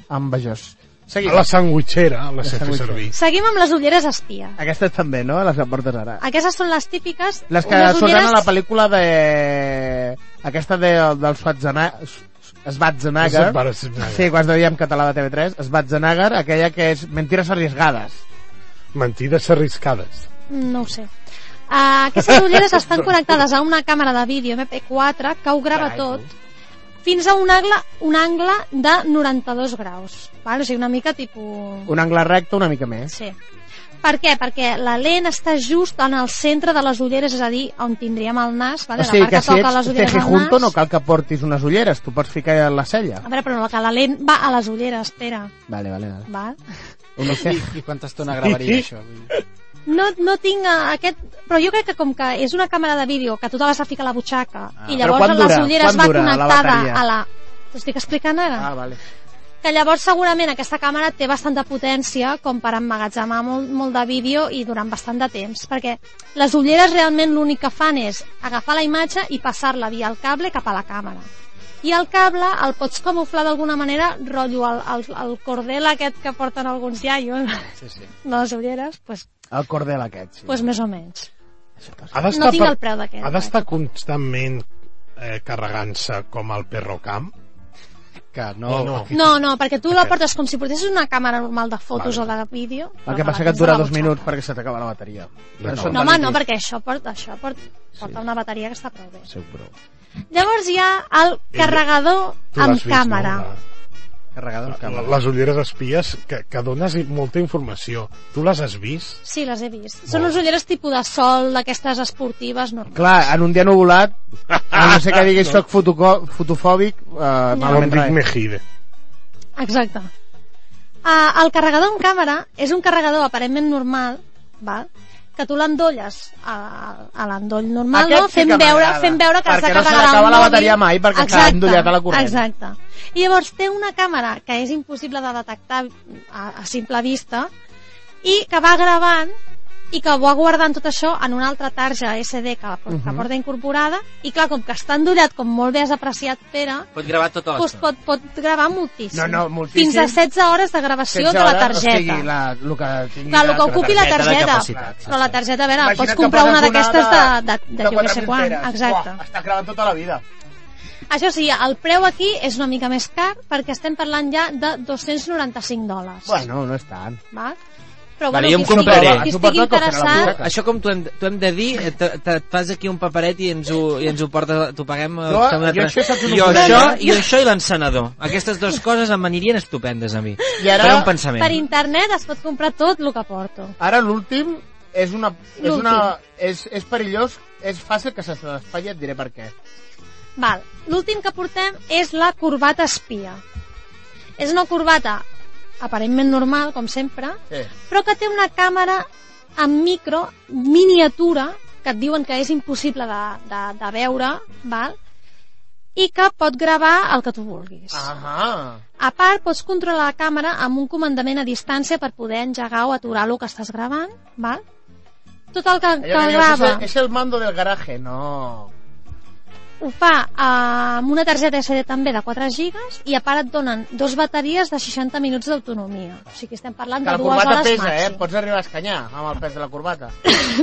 S2: Envejós. Seguim.
S7: A la sandwitxera la sé fer
S2: sandwitxera.
S7: servir.
S4: Seguim amb les ulleres espia.
S2: Aquestes també, no? Les que portes ara.
S4: Aquestes són les típiques...
S2: Les que
S4: unes
S2: surten
S4: ulleres-
S2: a la pel·lícula de... Aquesta de, del Schwarzenegger... Schwarzenegger.
S7: Schwarzenegger.
S2: Sí, quan es deia en català de TV3. Schwarzenegger, aquella que és Mentires arriesgades.
S7: Mentides arriscades.
S4: No ho sé. Uh, aquestes ulleres
S2: [LAUGHS]
S4: estan connectades a una càmera de vídeo MP4 que ho grava tot fins a un angle, un angle de 92 graus. Val? O sigui, una mica tipus...
S2: Un angle recte una mica més.
S4: Sí. Per què? Perquè la lent està just en el centre de les ulleres, és a dir, on tindríem el nas, vale? la part que,
S2: si
S4: toca les
S2: ets
S4: ulleres
S2: Teji
S4: al nas...
S2: Junto no cal que portis unes ulleres, tu pots ficar la cella.
S4: A veure, però la- que la lent va a les ulleres, espera.
S2: Vale, vale, vale.
S4: Val?
S6: I, I quanta estona gravaria això? Vull dir,
S4: No, no tinc eh, aquest... Però jo crec que com que és una càmera de vídeo que tu te vas a ficar a la butxaca ah, i
S2: Però
S4: llavors
S2: quant
S4: les
S2: dura?
S4: ulleres
S2: Quant
S4: va
S2: dura la
S4: connectada
S2: bateria?
S4: a la... T'ho estic explicant ara?
S2: Ah, vale.
S4: Que llavors segurament aquesta càmera té bastant de potència com per emmagatzemar molt, molt de vídeo i durant bastant de temps, perquè les ulleres realment l'únic que fan és agafar la imatge i passar-la via el cable cap a la càmera. I el cable el pots camuflar d'alguna manera, rotllo el, el, el cordel aquest que porten alguns iaios,
S6: Sí, sí.
S4: de [LAUGHS] les ulleres, doncs pues,
S2: El cordel aquest, sí.
S4: pues més o menys.
S7: Ha
S4: No
S7: d'estar
S4: tinc el preu d'aquest, eh.
S7: Ha d'estar constantment eh, carregant-se com el perro camp.
S6: Que no...
S7: No, no.
S4: No, no, perquè tu la portes com si portessis una càmera normal de fotos
S7: Vale.
S4: o de vídeo. però
S2: El que
S4: la
S2: passa que et
S4: tens a
S2: dura
S4: la
S2: dos
S4: butxaca.
S2: minuts perquè se t'acaba la bateria.
S7: No,
S2: són
S4: No, home,
S2: de
S4: no,
S2: líquid.
S4: perquè això porta, això porta, porta una bateria que està prou bé.
S2: Sí, però...
S4: Llavors hi ha
S2: Eh,
S4: el carregador
S7: Tu l'has
S4: amb
S7: vist,
S4: càmera.
S7: no?
S2: Carregador amb
S7: La-
S2: càmera.
S7: la- Les ulleres espies que, que dones molta informació. Tu les has vist?
S4: Sí, les he vist. Són unes ulleres tipus de sol, d'aquestes esportives, no?
S2: Clar, en un dia nuvolat, a no ser que diguis soc fotoco- fotofòbic, eh,
S4: No.
S7: No em
S2: malament
S7: dic
S2: res.
S7: Mejide.
S4: Exacte. Ah, Uh, el carregador amb càmera és un carregador aparentment normal, val? que tu l'endolles a, a l'endoll normal,
S2: Aquest
S4: no?
S2: sí
S4: fent,
S2: que
S4: veure,
S2: m'agrada,
S4: fent veure que
S2: perquè no se
S4: s'acabarà
S2: n'acaba
S4: el
S2: la
S4: mòbil.
S2: bateria mai, perquè està
S4: Exacte,
S2: endollat a la corrent.
S4: Exacte. I llavors té una càmera que és impossible de detectar a, a simple vista i que va gravant i que va guardant tot això en una altra tarja SD que, que
S2: Mhm.
S4: porta incorporada i clar, com que està endollat, com molt bé has apreciat Pere,
S3: Pot gravar tota
S4: doncs
S3: l'estona.
S4: pot, pot gravar moltíssim.
S2: No, no, moltíssim.
S4: Fins a 16 hores de gravació
S2: 16
S4: de la
S2: hores,
S4: targeta.
S2: O sigui, la, el que, tingui
S4: Clar, el que ocupi la
S3: targeta de
S4: targeta.
S3: capacitat, sí,
S4: però la
S3: sí.
S4: targeta, a veure,
S2: Imagina't
S4: pots
S2: que
S4: comprar
S2: poses
S4: una d'aquestes de, de, de, jo què
S2: 4.000
S4: sé quan.
S2: peres.
S4: Exacte.
S2: Uah, estàs gravant tota la vida.
S4: Això sí, el preu aquí és una mica més car perquè estem parlant ja de 295 dòlars.
S2: Bueno, no és tant.
S4: Val? Però
S3: Vale,
S4: bueno,
S3: jo em
S4: qui estigui-
S3: compraré.
S4: Qui
S2: Suporto
S4: estigui
S2: que ho farà la
S4: interessat,
S2: butaca.
S3: Això com t'ho hem, t'ho hem de dir, eh, te, te, et fas aquí un paperet i ens ho, i ens ho portes, t'ho paguem... eh,
S2: Jo-
S3: t'ho hem de
S2: jo
S3: tra-
S2: això saps un
S3: jo
S2: problema.
S3: això, i això i l'encenador. Aquestes dues coses em anirien estupendes a mi.
S2: I ara-
S3: Però un pensament.
S4: per internet es pot comprar tot el que porto.
S2: Ara l'últim és una... És,
S4: L'últim.
S2: una és, és perillós, és fàcil que se t'espatlli, et diré per què.
S4: Val. L'últim que portem és la corbata espia. És una corbata aparentment normal, com sempre,
S2: Sí.
S4: però que té una càmera en micro, miniatura, que et diuen que és impossible de, de, de veure, val? i que pot gravar el que tu vulguis.
S2: Ah. Ahà.
S4: A part, pots controlar la càmera amb un comandament a distància per poder engegar o aturar el que estàs gravant, val? Tot el que, que
S2: Allò que dius, és,
S4: grava
S2: el, és el mando del garaje, no.
S4: ho fa eh, amb una targeta SD també de 4 gigas i a part et donen dos bateries de 60 minuts d'autonomia. O sigui, estem parlant
S2: Que la
S4: de dues
S2: corbata
S4: hores
S2: pesa, eh?
S4: màxim. [LAUGHS]
S2: Pots arribar a escanyar amb el pes de la
S4: [COUGHS]
S2: corbata.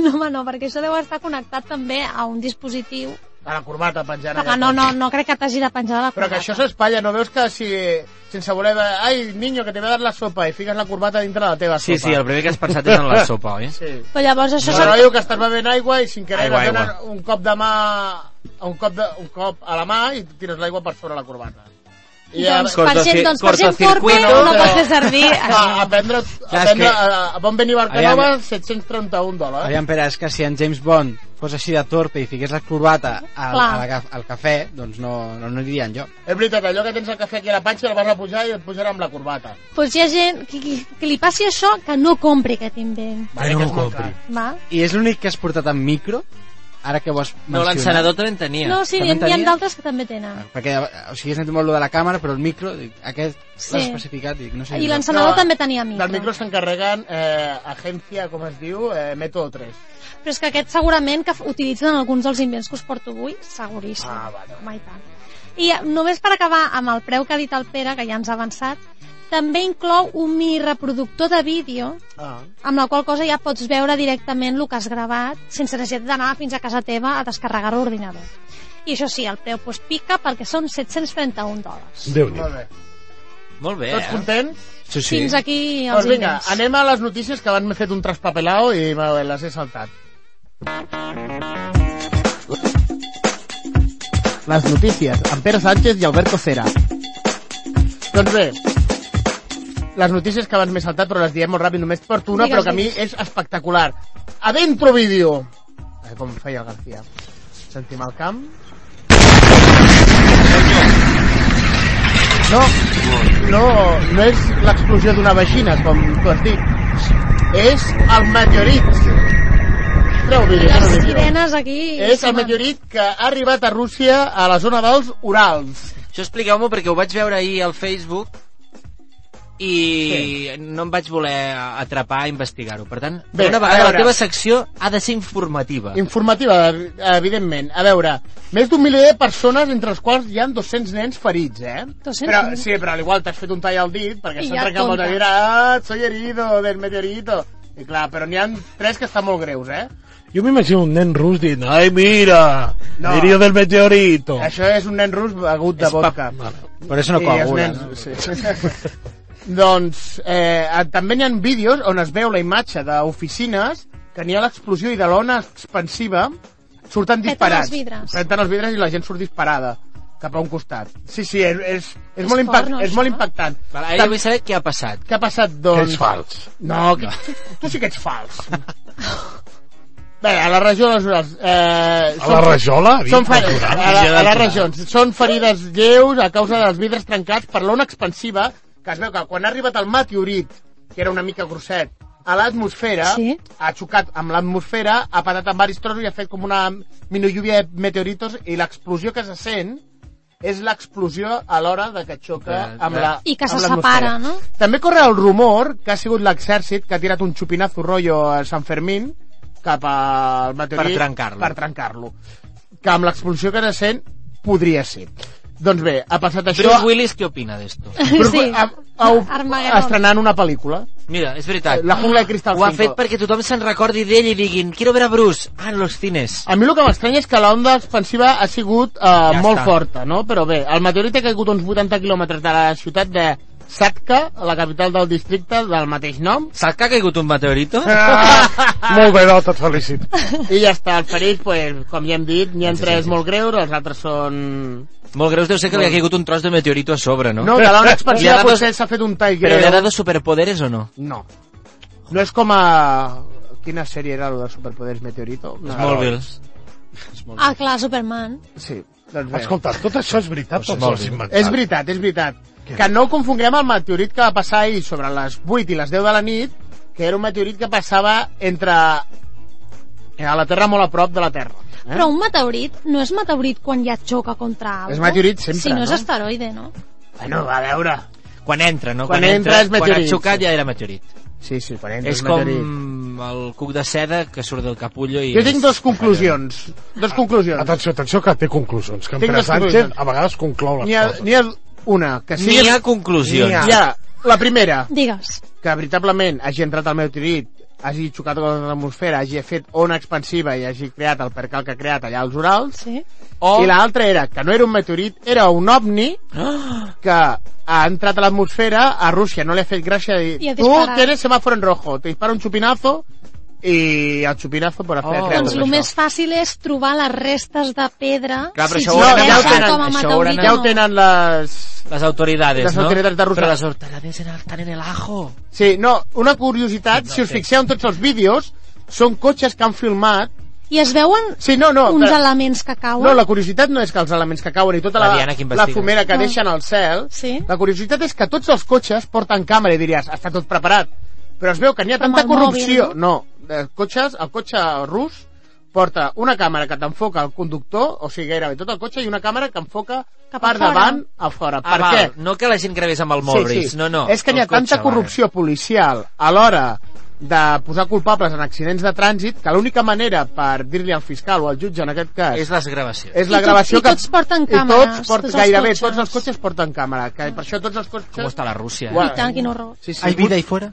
S4: No, home, no, perquè això deu estar connectat també a un dispositiu
S2: A la corbata penjant.
S4: Però
S2: allà.
S4: no, no, no crec que t'hagi de penjar de la
S2: Però
S4: corbata.
S2: que això s'espatlla, no veus que si sense voler... va- Ai, niño, que te voy a dar la sopa i fiques la corbata dintre de la teva
S3: Sí, sí,
S2: sopa.
S3: el primer que has pensat és en la sopa, oi?
S2: Sí, sí.
S4: Però llavors això
S2: Això
S4: no,
S2: rotllo que estàs bevent aigua i sin querer
S3: Aigua,
S2: et donen
S3: aigua.
S2: un cop de mà un cop, de, un cop a la mà i tires l'aigua per sobre la corbata. I a,
S4: Doncs,
S2: a,
S4: per
S3: Corto
S4: gent,
S3: ci-
S4: doncs per gent torpe
S3: cortocircuito,
S4: no
S2: però-
S4: pot fer
S2: [LAUGHS]
S4: servir això.
S2: a prendre, a,
S3: Clar, és
S2: prendre,
S3: que-
S2: a, a bon venir Barcanova, 731 dòlars.
S6: [LAUGHS] Aviam, Pere, és que si en James Bond fos així de torpe i fiqués la corbata al,
S4: Clar.
S6: al, ca- al cafè, doncs no, no, no aniria enlloc.
S2: És veritat, allò que tens el cafè aquí a la panxa el vas a pujar i et pujarà amb la corbata.
S4: Doncs hi ha gent que, que, que li passi això que no compri aquest invent.
S2: Vale, que és molt car.
S4: Va?
S6: I és l'únic que has portat en micro, ara que ho has
S3: No,
S6: mencionat.
S3: l'encenador també en tenia.
S4: No, sí,
S6: També
S4: n'hi ha- n'hi ha
S6: tenia?
S4: d'altres que també tenen.
S6: Perquè, o sigui, he sentit molt lo de la càmera, però el micro, dic, aquest
S4: Sí.
S6: l'has especificat, dic, no sé.
S4: I l'encenador
S2: No,
S4: també tenia
S2: Del micro
S4: micro.
S2: s'encarreguen eh, agència, com es diu, eh, Método 3.
S4: Però és que aquest segurament que f- utilitzen alguns dels invents que us porto avui, seguríssim.
S2: Ah, vale.
S4: Home, i tant. I eh, només per acabar amb el preu que ha dit el Pere, que ja ens ha avançat, també inclou un mini reproductor de vídeo
S2: Ah.
S4: amb la qual cosa ja pots veure directament el que has gravat sense necessitat d'anar fins a casa teva a descarregar l'ordinador. I això sí, el preu pues, pica perquè són 731 dòlars.
S7: déu nhi
S2: Molt bé.
S3: Molt bé,
S2: Tots
S3: eh?
S2: contents?
S6: Sí, sí.
S4: Fins aquí els
S2: Doncs vinga,
S4: invents.
S2: anem a les notícies que abans m'he fet un traspapelao i me les he saltat.
S6: Les notícies, amb Pere Sánchez i Alberto Cera.
S2: Doncs bé, les notícies que abans m'he saltat, però les diem molt ràpid, només porto una,
S4: Digues,
S2: però que a mi
S4: digues.
S2: és espectacular. Adentro vídeo! Eh, com feia el García. Sentim el camp. No, no, no és l'explosió d'una vagina, com tu has dit. És el meteorit. Treu vídeo,
S4: Les
S2: treu vídeo.
S4: sirenes aquí...
S2: És el [LAUGHS]
S4: home,
S2: meteorit que ha arribat a Rússia a la zona dels Urals.
S3: Això expliqueu-m'ho perquè ho vaig veure ahir al Facebook i no em vaig voler atrapar a investigar-ho. Per tant,
S2: Bé,
S3: Bé, una
S2: a
S3: vegada
S2: veure.
S3: la teva secció ha de ser informativa.
S2: Informativa, evidentment. A veure, més d'un miler de persones, entre els quals hi ha 200 nens ferits, eh?
S4: 200
S2: però,
S4: nens?
S2: sí, però al igual t'has fet un tall al dit, perquè
S4: I
S2: s'ha
S4: ja
S2: trencat molt de
S4: tonta.
S2: dir, ah, soy herido del meteorito. I clar, però n'hi ha tres que estan molt greus, eh?
S7: Jo m'imagino un nen rus dient, ai, mira,
S2: No.
S7: no. herido del meteorito.
S2: Això és un nen rus begut de
S6: És
S2: vodka.
S6: Però això no
S2: I els
S6: coagula,
S2: nens-
S6: no?
S2: sí. [LAUGHS] doncs eh, també n'hi ha vídeos on es veu la imatge d'oficines que n'hi ha l'explosió i de l'ona expansiva surten
S4: Peten
S2: disparats.
S4: els vidres.
S2: Peten els vidres i la gent surt disparada cap a un costat. Sí, sí, és, és, és,
S4: És
S2: molt, impact,
S4: porno,
S2: és
S4: això,
S2: molt
S4: no?
S2: impactant.
S3: Vale, ara jo vull saber què ha passat.
S2: Què ha passat, doncs?
S7: Ets fals.
S2: No, que... tu sí que ets
S4: [LAUGHS]
S2: fals. Bé, a la regió de les Urals... Eh,
S7: A la rajola? ha dit?
S2: són fer... a,
S7: Natural,
S2: la, a
S7: natural.
S2: les regions. Són ferides lleus a causa dels vidres trencats per l'ona expansiva, que es veu que quan ha arribat el meteorit, que era una mica grosset, a l'atmosfera,
S4: Sí.
S2: ha xocat amb l'atmosfera, ha patat amb varis trossos i ha fet com una minilluvia de meteoritos i l'explosió que se sent és l'explosió a l'hora de que xoca
S3: Clar,
S2: amb
S3: clar.
S2: la
S4: I que se
S2: amb l'atmosfera.
S4: separa, no?
S2: També corre el rumor que ha sigut l'exèrcit que ha tirat un xupinazo rotllo a Sant Fermín cap al meteorit...
S3: Per trencar-lo.
S2: Per trencar-lo. Que amb l'expulsió que se sent podria ser. Doncs bé, ha passat això...
S3: Bruce Willis, què opina d'esto?
S2: Bruce
S4: Sí.
S2: Wi- A, a,
S4: Armageddon.
S2: estrenant una pel·lícula.
S3: Mira, és veritat.
S2: La jungla de Cristal
S3: Ho ha
S2: 5.
S3: fet perquè tothom se'n recordi d'ell i diguin quiero ver a Bruce, ah, en los cines.
S2: A mi el que m'estranya és que la onda expansiva ha sigut eh, ja molt
S3: està.
S2: forta, no? Però bé, el meteorit ha caigut uns 80 quilòmetres de la ciutat de Satka, la capital del districte del mateix nom,
S3: Saps que ha caigut un meteorito?
S2: [LAUGHS]
S7: Molt bé, Dota, et felicito.
S2: i ja està, el ferit, pues, com ja hem dit, n'hi ha tres molt greus, els altres són...
S3: Molt greus deu ser que li ha caigut un tros de meteorito a sobre, no?
S2: No, de la onda
S3: Li ha
S2: expansiva
S3: dado-
S2: potser s'ha fet un tall
S3: Però li ha
S2: greu.
S3: dado superpoderes o no?
S2: No. No és com a... Quina sèrie era el de Superpoders Meteorito? No.
S3: Smallville.
S4: Ah, clar, Superman.
S2: Sí, doncs bé. Doncs
S7: Escolta, tot això és veritat, tot
S3: molt
S7: això és
S3: bé.
S7: inventat.
S2: És veritat, és veritat. Que no ho confonguem el meteorit que va passar ahir sobre les 8 i les 10 de la nit, que era un meteorit que passava entre... eh, a la Terra molt a prop de la Terra. Eh?
S4: Però un meteorit no és meteorit quan ja xoca contra algo.
S2: És meteorit sempre,
S4: Si no, és
S2: no?
S4: asteroide, no?
S2: Bueno, va a veure.
S3: Quan entra, no?
S2: Quan entra és
S3: Quan
S2: meteorit,
S3: ha xocat
S2: sí.
S3: ja era meteorit.
S2: Sí, sí, quan entra
S3: És
S2: el
S3: com
S2: meteorit.
S3: el cuc de seda que surt del capullo i...
S2: Jo tinc
S3: és-
S2: dues conclusions. Dos conclusions.
S7: Atenció, atenció, que té conclusions. Que en
S2: Tinc
S7: Pere
S2: les
S7: Sánchez
S2: conclusions.
S7: a vegades conclou les
S2: N'hi ha,
S7: coses.
S2: n'hi ha una, que
S3: N'hi
S2: sigui...
S3: ha conclusions.
S7: ah, N'hi
S2: Hi
S7: ha.
S2: ha la primera,
S4: Digues.
S2: que veritablement hagi entrat al meu tirit, hagi xocat contra l'atmosfera, hagi fet ona expansiva i hagi creat el percal que ha creat allà als Urals,
S4: Sí.
S3: Oh.
S2: o... i l'altra era que no era un meteorit, era un ovni que ha entrat a l'atmosfera, a Rússia no li ha fet gràcia i,
S4: I ha
S2: tu
S4: disparat.
S2: tienes semáforo en rojo, te dispara un chupinazo i el chupinazo per haver
S3: Oh.
S2: oh, creat
S4: Doncs
S2: tot
S4: el
S2: això.
S4: més fàcil és trobar les restes de pedra
S3: Clar, però
S4: si
S3: això
S2: No,
S3: ho hauran
S4: existeixen
S2: ja ho
S3: anat-
S4: com a
S2: tenen,
S3: això ho hauran
S4: meteorit
S3: anat-
S2: ja
S4: o
S2: ho
S4: no.
S2: tenen les...
S3: [GASPS] Les autoridades,
S2: Les
S3: no?
S2: autoridades de Rússia.
S3: Però les autoridades en el- estan en el ajo.
S2: Sí, no, una curiositat, si us fixeu en tots els vídeos, són cotxes que han filmat...
S4: I es veuen
S2: Sí, no, no...
S4: uns
S2: però-
S4: elements que cauen.
S2: No, la curiositat no és que els elements que cauen i tota la,
S3: La Diana
S2: la
S3: que investiga.
S2: fumera que
S4: Ah.
S2: deixen al cel,
S4: Sí.
S2: la curiositat és que tots els cotxes porten càmera i diries, està tot preparat. Però es veu que n'hi ha
S4: Però amb
S2: tanta
S4: el
S2: corrupció...
S4: mòbil,
S2: no, eh, cotxes, el cotxe rus porta una càmera que t'enfoca al conductor, o sigui, gairebé tot el cotxe, i una càmera que enfoca
S4: Cap
S2: per
S4: a fora.
S2: davant a fora.
S3: Ah,
S2: per
S3: val,
S2: què?
S3: No que la gent gravés amb el Mobris, no, no.
S2: És que n'hi ha
S3: el cotxe,
S2: tanta corrupció policial a l'hora de posar culpables en accidents de trànsit que l'única manera per dir-li al fiscal o al jutge en aquest cas
S3: Vale. És les gravacions.
S2: és la
S4: I tot-
S2: gravació
S4: i tots porten
S2: I
S4: càmeres,
S2: tots porten,
S4: tots
S2: tots
S4: els
S2: gairebé
S4: cotxes.
S2: tots els cotxes porten càmera, que per això tots els cotxes...
S3: Com està la Rússia, eh?
S2: Uau.
S4: I tant, quin horror.
S2: Sí, sí,
S6: Hay vida ahí fuera?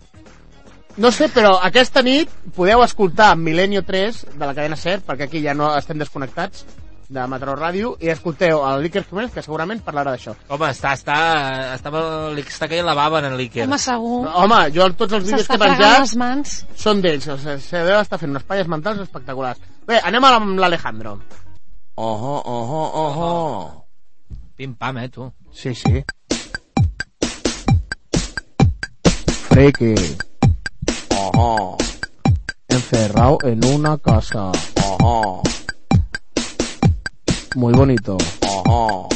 S2: No sé, però aquesta nit podeu escoltar Milenio 3 de la cadena SER, perquè aquí ja no estem desconnectats de Mataró Ràdio, i escolteu el Líker Jiménez, que segurament parlarà d'això.
S3: Home, està, està, està, li està caient la bava en el líquer.
S4: Home, segur.
S2: Home, jo tots els vídeos que
S4: S'està
S2: he
S4: fregant
S2: penjat
S4: les mans.
S2: són d'ells, o sigui, se deu estar fent unes palles mentals espectaculars. Bé, anem amb l'Alejandro.
S1: Ojo, ojo, ojo.
S3: Pim pam, eh, tu.
S2: Sí, sí. Friki,
S1: Ojo,
S2: encerrado en una casa.
S1: ojo,
S2: Muy bonito,
S1: ojo.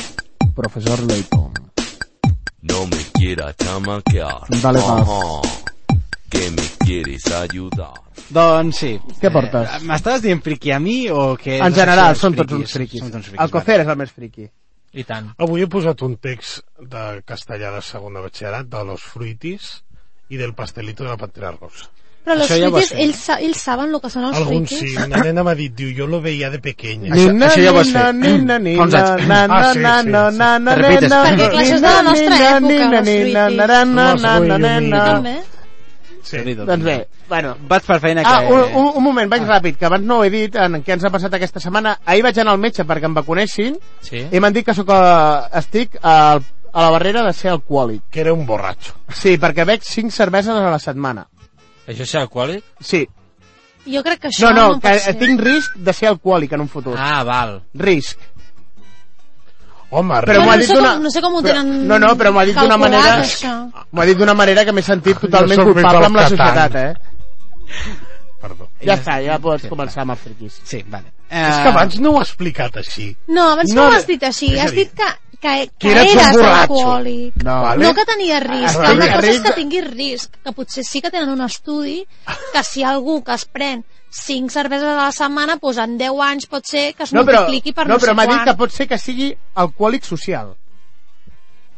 S2: profesor Leighton.
S8: No me quiera chamaquear.
S2: Dale
S8: Ajá. Oh, Que me quieres ayudar.
S6: Doncs sí.
S2: Què portes?
S6: Eh, M'estaves dient friqui a mi o que...
S2: En general, són tots uns friquis.
S6: Són tots uns friquis.
S2: El Cofer és el més friqui.
S3: I tant.
S7: Avui he posat un text de castellà de segon de batxillerat de los fruitis i del pastelito de la pantera rosa.
S4: Però els
S6: Això ja ho
S4: friquis,
S6: sé.
S4: ells, sa- ells saben el que són els
S7: Alguns
S4: friquis.
S7: sí, una nena m'ha dit, diu, jo lo veia de pequeña.
S6: Això- això ja ho has fet. Fa uns anys.
S7: Ah, sí, sí, sí.
S6: Te repites.
S4: Perquè, clar, això és de la nostra època, els
S2: època,
S4: També.
S7: Sí.
S2: Doncs bé, bueno,
S6: Vaig per feina que...
S2: Ah,
S3: Eh,
S2: un, un, un moment, vaig ràpid, que abans no ho he dit, en què ens ha passat aquesta setmana. Ahir vaig anar al metge perquè em vacunessin
S3: Sí.
S2: i m'han dit que sóc, eh, estic a, a la barrera de ser alcohòlic.
S7: Que era un borratxo.
S2: Sí, perquè bec 5 cerveses a la setmana.
S3: Això és alcohòlic?
S2: Sí.
S4: Jo crec que això
S2: No, no,
S4: no
S2: que
S4: pot ser.
S2: tinc risc de ser alcohòlic en un futur. Ah.
S3: Ah, val.
S2: Risc.
S7: Home,
S2: Però
S4: Bueno,
S2: m'ho ha
S4: no
S2: dit
S4: sé com-
S2: d'una...
S4: no sé com ho
S2: però-
S4: tenen
S2: No, no, però m'ho ha dit d'una
S4: calculat,
S2: manera...
S4: això.
S2: M'ho ha dit d'una manera que m'he sentit totalment
S7: Jo sóc més
S2: culpable
S7: del
S2: amb la
S7: Catan.
S2: societat, eh?
S7: perdó.
S2: Ja està, ja pots començar amb Eh, els friquis.
S6: Sí, vale.
S7: És que abans no ho ha explicat així.
S4: No, abans
S2: No,
S4: no, ho
S2: no.
S4: has dit així.
S7: És a
S4: Has
S7: dir-
S4: dit que que,
S7: Que
S4: que
S7: eres un
S4: eres
S7: borratxo.
S4: alcohòlic.
S9: No.
S7: Vale.
S4: No que tenia risc,
S7: Ah,
S4: que una
S7: vale.
S4: cosa és que
S7: Risc-
S4: tinguis risc, que potser sí que tenen un estudi que si algú que es pren 5 cerveses a la setmana, doncs en 10 anys pot ser que es
S9: No, però,
S4: multipliqui per no,
S9: no, però
S4: sé
S9: m'ha dit
S4: quant.
S9: que pot ser que sigui alcohòlic social.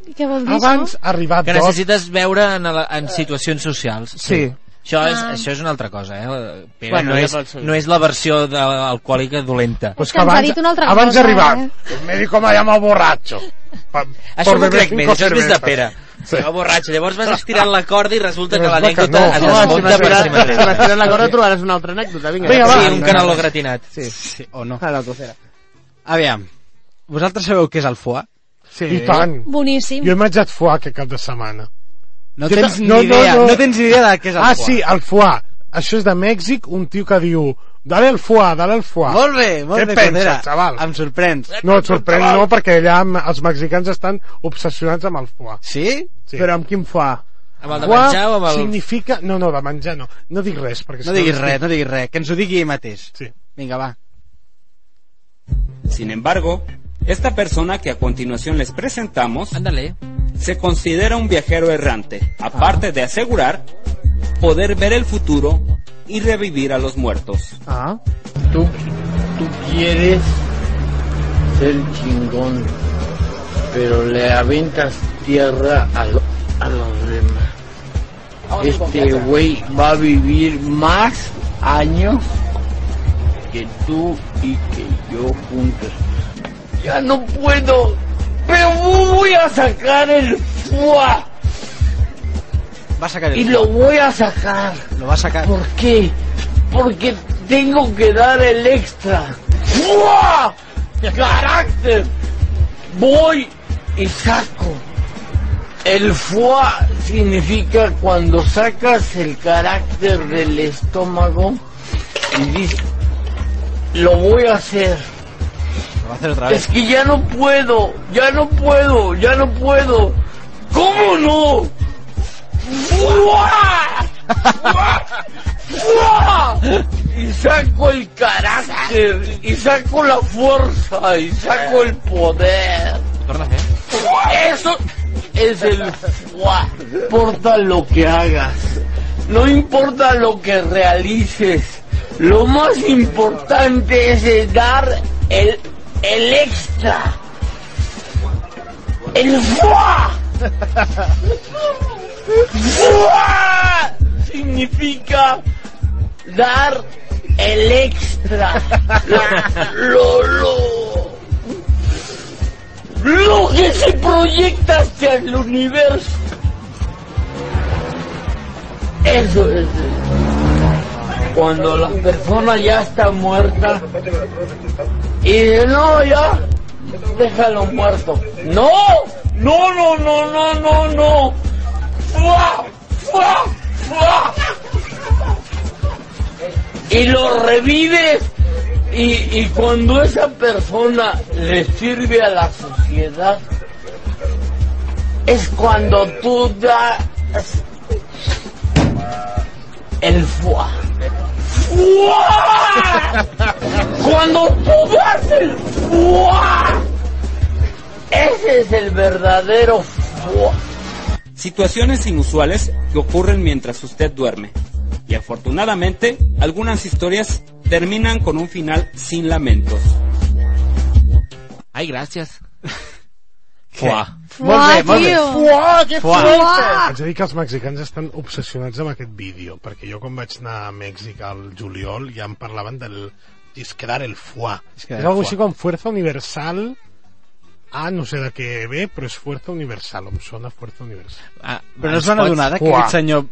S4: I Què vols dir,
S7: Abans
S4: això?
S7: arribat
S3: Que
S7: d'hora...
S3: necessites veure en, el, en situacions socials.
S9: Sí.
S3: Això és,
S4: Ah.
S3: això és una altra cosa, eh? Pere,
S9: Bueno,
S3: bueno, no,
S9: ja
S3: és,
S9: pot ser.
S3: no és la versió de- alcohòlica dolenta.
S7: Pues
S2: Doncs
S4: que ens ha dit una altra
S7: abans
S4: cosa,
S7: d'arribar,
S4: eh?
S7: el médico m'ha llamat borratxo. Pa,
S3: Això m'ho crec més,
S7: cinco
S3: això és més de
S7: cervezas.
S3: Pere.
S7: Sí.
S3: Sí. borratxo. Llavors vas estirant la corda i resulta que
S7: Resulta que
S3: l'anècdota
S7: no.
S3: es
S7: No,
S9: Home, si
S3: desmunta per si
S9: m'estimes si
S3: mateixa.
S9: m'estimes la corda trobaràs una altra anècdota. Vinga,
S7: Vinga, va.
S3: Sí, un canaló gratinat.
S9: Sí,
S6: Sí, o no.
S9: a la cocera.
S6: Aviam, vosaltres sabeu què és el foie?
S9: Sí.
S7: I tant.
S4: Boníssim.
S7: Jo he menjat foie aquest cap de setmana.
S6: No
S7: Jo
S6: tens
S7: no-
S6: ni
S7: no, no,
S6: idea,
S7: no.
S6: no, tens ni idea de què és el
S7: Ah,
S6: foie.
S7: sí, el foie. Això és de Mèxic, un tio que diu dale el foie, dale el foie.
S6: Molt bé, molt
S7: Què
S6: bé,
S7: penses,
S6: Codera.
S7: xaval?
S6: Em sorprens.
S7: No, et sorprèn, no, perquè allà amb- els mexicans estan obsessionats amb el foie.
S6: Sí?
S7: Sí.
S9: Però amb quin fa?
S3: Amb el de menjar o amb el...
S7: significa... No, no, de menjar no. No dic res, perquè...
S6: No diguis res, no diguis res, que ens ho digui ell mateix.
S7: Sí.
S6: Vinga, va.
S10: Sin embargo, esta persona que a continuación les presentamos
S3: Ándale.
S10: se considera un viajero errante, aparte de asegurar poder ver el futuro y revivir a los muertos.
S9: Ah.
S2: Tú, tú quieres ser chingón, pero le aventas tierra a, lo- a los demás. Este güey va a vivir más años que tú y que yo juntos. Ya no puedo, pero voy a sacar el fuá
S6: Va sacar
S2: y
S6: el
S2: lo voy a sacar.
S6: Lo va sacar.
S2: ¿Por qué? Porque tengo que dar el extra. ¡Fua! ¡Carácter! Voy y saco. El fua significa cuando sacas el carácter del estómago y dices, lo voy a hacer.
S6: Lo va a hacer otra
S2: Es
S6: vez.
S2: que ya no puedo, ya no puedo, ya no puedo. ¿Cómo no? ¡Fua! ¡Fua! ¡Fua! Y saco el carácter, y saco la fuerza, y saco el poder.
S6: Torna a fer.
S2: Eso es el fuá. No importa lo que hagas, no importa lo que realices, lo más importante es el dar el, el extra. El fuá. Fuá significa dar el extra. Lo, lo, lo que se proyecta hacia el universo. Eso es. Cuando la persona ya está muerta y dice, no, ya, déjalo muerto. No, no, no, no, no, no, no. ¡Fua! ¡Fua! ¡Fua! y lo revives. Y, y cuando esa persona le sirve a la sociedad, es cuando tú das el fuá. ¡Fuá! Cuando tú das el fuá, ese es el verdadero fuá.
S10: Situaciones inusuales que ocurren mientras usted duerme. Y afortunadamente, algunas historias terminan con un final sin lamentos.
S3: Ai, gràcies.
S6: Fuà.
S4: Molt bé, molt bé.
S9: Fuà, que
S6: Fuà.
S7: Haig de dir que els mexicans estan obsessionats amb aquest vídeo, perquè jo quan vaig anar a Mèxic al juliol ja em parlaven del disquedar el foie.
S6: Disquedar
S7: És
S6: el
S7: algo
S6: foie.
S7: així com Fuerza Universal Ah, no sé de què ve, però és Fuerza Universal, em sona Fuerza Universal.
S3: Ah,
S6: Però no es
S3: ens
S6: van
S3: pots-
S6: adonar que
S7: Uah.
S6: aquest senyor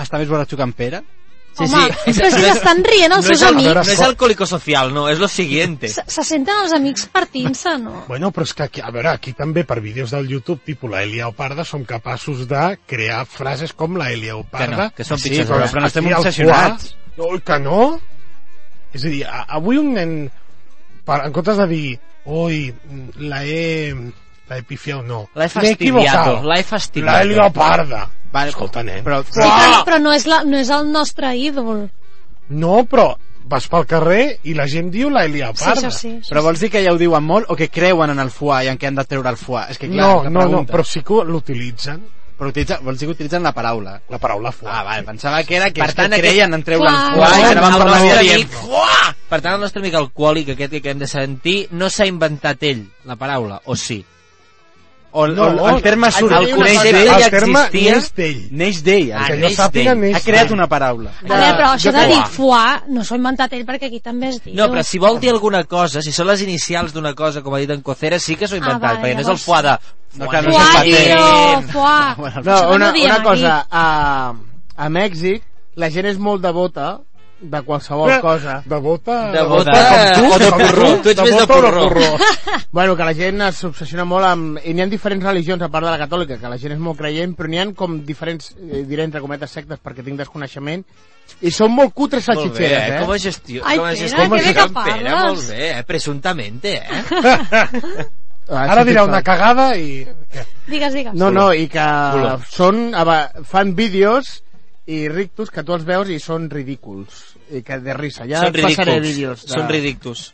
S6: està més borratxo que en Pere?
S3: Sí,
S4: Home,
S3: sí.
S4: però si s'estan rient els seus
S3: és, el-
S4: amics.
S3: No és alcohòlico social, no, és lo siguiente.
S4: Se, se senten els amics partint-se, no?
S7: Bueno, però és que aquí, a veure, aquí també per vídeos del YouTube tipus la Elia Oparda som capaços de crear frases com la Elia Oparda.
S3: que són
S7: Sí,
S3: pitjors,
S7: però,
S3: eh?
S7: però no estem obsessionats. No, oi que no? És a dir, a, avui un nen, per, en comptes de dir, oi, la he, la he pifiado, no.
S3: La he
S7: "Me
S3: fastidiado,
S7: equivocado".
S3: la he
S7: La E
S3: fastidiado.
S7: Elia Oparda.
S6: Vale,
S7: Escolta, nen.
S6: Però,
S4: Sí, però, però no, és la, no és el nostre ídol.
S7: No, però vas pel carrer i la gent diu la E Eliaparda.
S6: Però vols dir que ja ho diuen molt o que creuen en el foie i en què han de treure el foie? És que clar,
S7: no,
S6: és la
S7: no, no,
S6: pregunta.
S7: però sí que l'utilitzen.
S6: Però utilitza, vols dir que utilitzen la paraula?
S7: La paraula foie.
S6: Ah, vale, pensava que era que,
S3: Per
S6: per
S3: tant,
S6: tant, que
S3: aquest-
S6: creien en treure
S3: Clar.
S6: el foie i que ara van
S3: El
S6: parlar
S3: nostre
S6: de
S3: amic- Per tant, el nostre amic alcohòlic aquest que acabem de sentir no s'ha inventat ell, la paraula, o sí?
S6: O,
S3: No,
S6: o el terme
S3: haig de
S6: surt.
S3: dir una cosa,
S6: d'ell,
S3: el
S6: ja
S3: terme
S6: existia.
S7: neix d'ell.
S6: Neix d'ell.
S3: Ah,
S6: que
S3: neix
S6: jo sàpiga,
S3: d'ell.
S6: neix Ha creat una paraula.
S4: A veure, però això
S3: Jo
S4: de
S3: crec-
S4: dir foie no s'ho ha inventat ell perquè aquí també es diu.
S3: No, però si vol dir alguna cosa, si són les inicials d'una cosa, com ha dit en Cocera, sí que s'ho ha inventat,
S4: Ah, vale,
S3: perquè no és el
S4: llavors-
S3: foie de...
S6: No,
S3: Foie,
S6: clar, no
S3: no,
S6: és el
S3: foie,
S6: paté.
S4: No, foie.
S2: No,
S4: Això
S2: una,
S4: diem
S2: una
S4: aquí.
S2: cosa, a, a Mèxic la gent és molt devota de qualsevol
S7: Eh,
S2: cosa.
S7: De bota...
S3: De bota, o de
S7: com
S3: porró. Tu ets més de
S7: bota o
S3: porró.
S2: Bueno, que la gent es obsessiona molt amb... I n'hi ha diferents religions, a part de la catòlica, que la gent és molt creient, però n'hi ha com diferents, eh, diré entre cometes, sectes, perquè tinc desconeixement, i són molt cutres
S3: Molt bé,
S2: salxitxeres, eh?
S3: com a gestió...
S4: Ai,
S3: com a
S4: Pere,
S3: gestió,
S4: que bé que
S3: en Pere,
S4: parles.
S3: molt bé, eh? presumptamente, eh?
S2: Ah,
S7: Ara
S2: sí,
S7: dirà
S2: sí,
S7: una
S2: clar.
S7: cagada i... Què?
S4: Digues, digues.
S2: No, no, i que
S3: Culo.
S2: són, a ve- fan vídeos i rictus que tu els veus i són ridículs i que de risa, ja
S3: són
S2: et passaré
S3: ridículs.
S2: vídeos de...
S3: Són ridículs.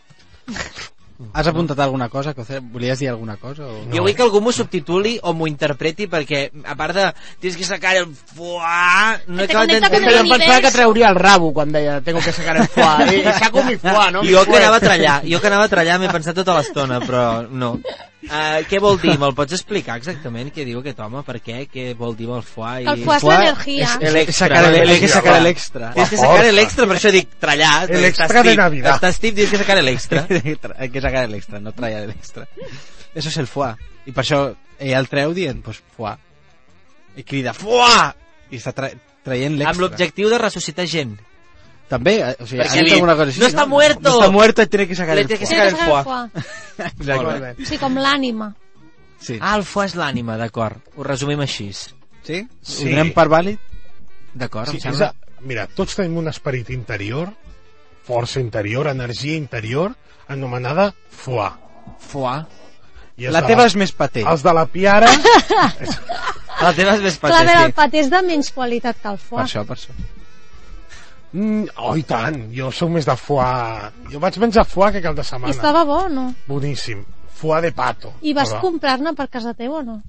S6: Has apuntat alguna cosa? Que volies dir alguna cosa? O...
S3: Jo vull que algú m'ho subtituli o m'ho interpreti perquè, a part de... Tens que sacar el foie... No he
S4: Te
S3: acabat d'entendre-
S4: connecta con
S2: Però em
S4: Univers.
S2: pensava que treuria el rabo quan deia tengo que sacar el [LAUGHS] foie, i, i saco mi foie, no? Mi
S3: Jo que
S2: foie.
S3: anava a trallar, jo que anava a trallar m'he pensat tota l'estona, però no. Uh, què vol dir? Me'l pots explicar exactament què diu aquest home? Per què? Què vol dir amb el foie?
S4: El foie és l'energia.
S3: el extra,
S6: Sacar el,
S3: vale,
S6: el, el,
S3: l'extra,
S6: sacar
S3: va.
S6: l'extra.
S3: Tens que sacar l'extra, per això dic trallar.
S7: El extra de Navidad.
S3: Estàs tip, tens que sacar
S7: [LAUGHS]
S3: l'extra.
S6: [LAUGHS] Hay que sacar el extra, no traia el extra. Eso es el foie. I per això ell el treu dient, pues, foie. I crida, foie! I està tra traient l'extra.
S3: Amb l'objectiu de ressuscitar gent.
S6: També, eh, o sigui,
S3: Perquè
S6: ha dit
S3: li-
S6: alguna cosa així,
S3: no està muerto.
S6: No està muerto i tiene que sacar
S3: Le
S6: el
S3: tiene que
S4: Sí,
S6: foie.
S3: sacar
S4: que
S3: el
S4: saca
S3: foie.
S4: el foie.
S6: Exacte.
S2: Molt bé.
S4: Sí, com l'ànima.
S6: Sí.
S3: Ah, el foie és l'ànima, d'acord. Ho resumim així.
S6: sí?
S7: Sí.
S6: Ho donem per vàlid?
S3: D'acord,
S7: Sí,
S3: em
S7: és
S3: sembla.
S7: a... Mira, tots tenim un esperit interior, força interior, energia interior, anomenada foie.
S3: Foie.
S7: I els
S6: La
S7: de
S6: teva és més paté.
S7: Els de la piara...
S6: [LAUGHS]
S3: La teva és més
S4: Clar, a veure, el
S3: patètic.
S4: paté és de menys qualitat que el
S6: Per
S4: foie.
S6: això, per això.
S7: Mm, oh, i tant, jo sóc més de foie... Jo vaig menjar foie que cap de
S4: I
S7: setmana.
S4: estava bo o no?
S7: Boníssim. Foie de pato.
S4: I vas
S7: Però-
S4: comprar-ne per casa teu o no?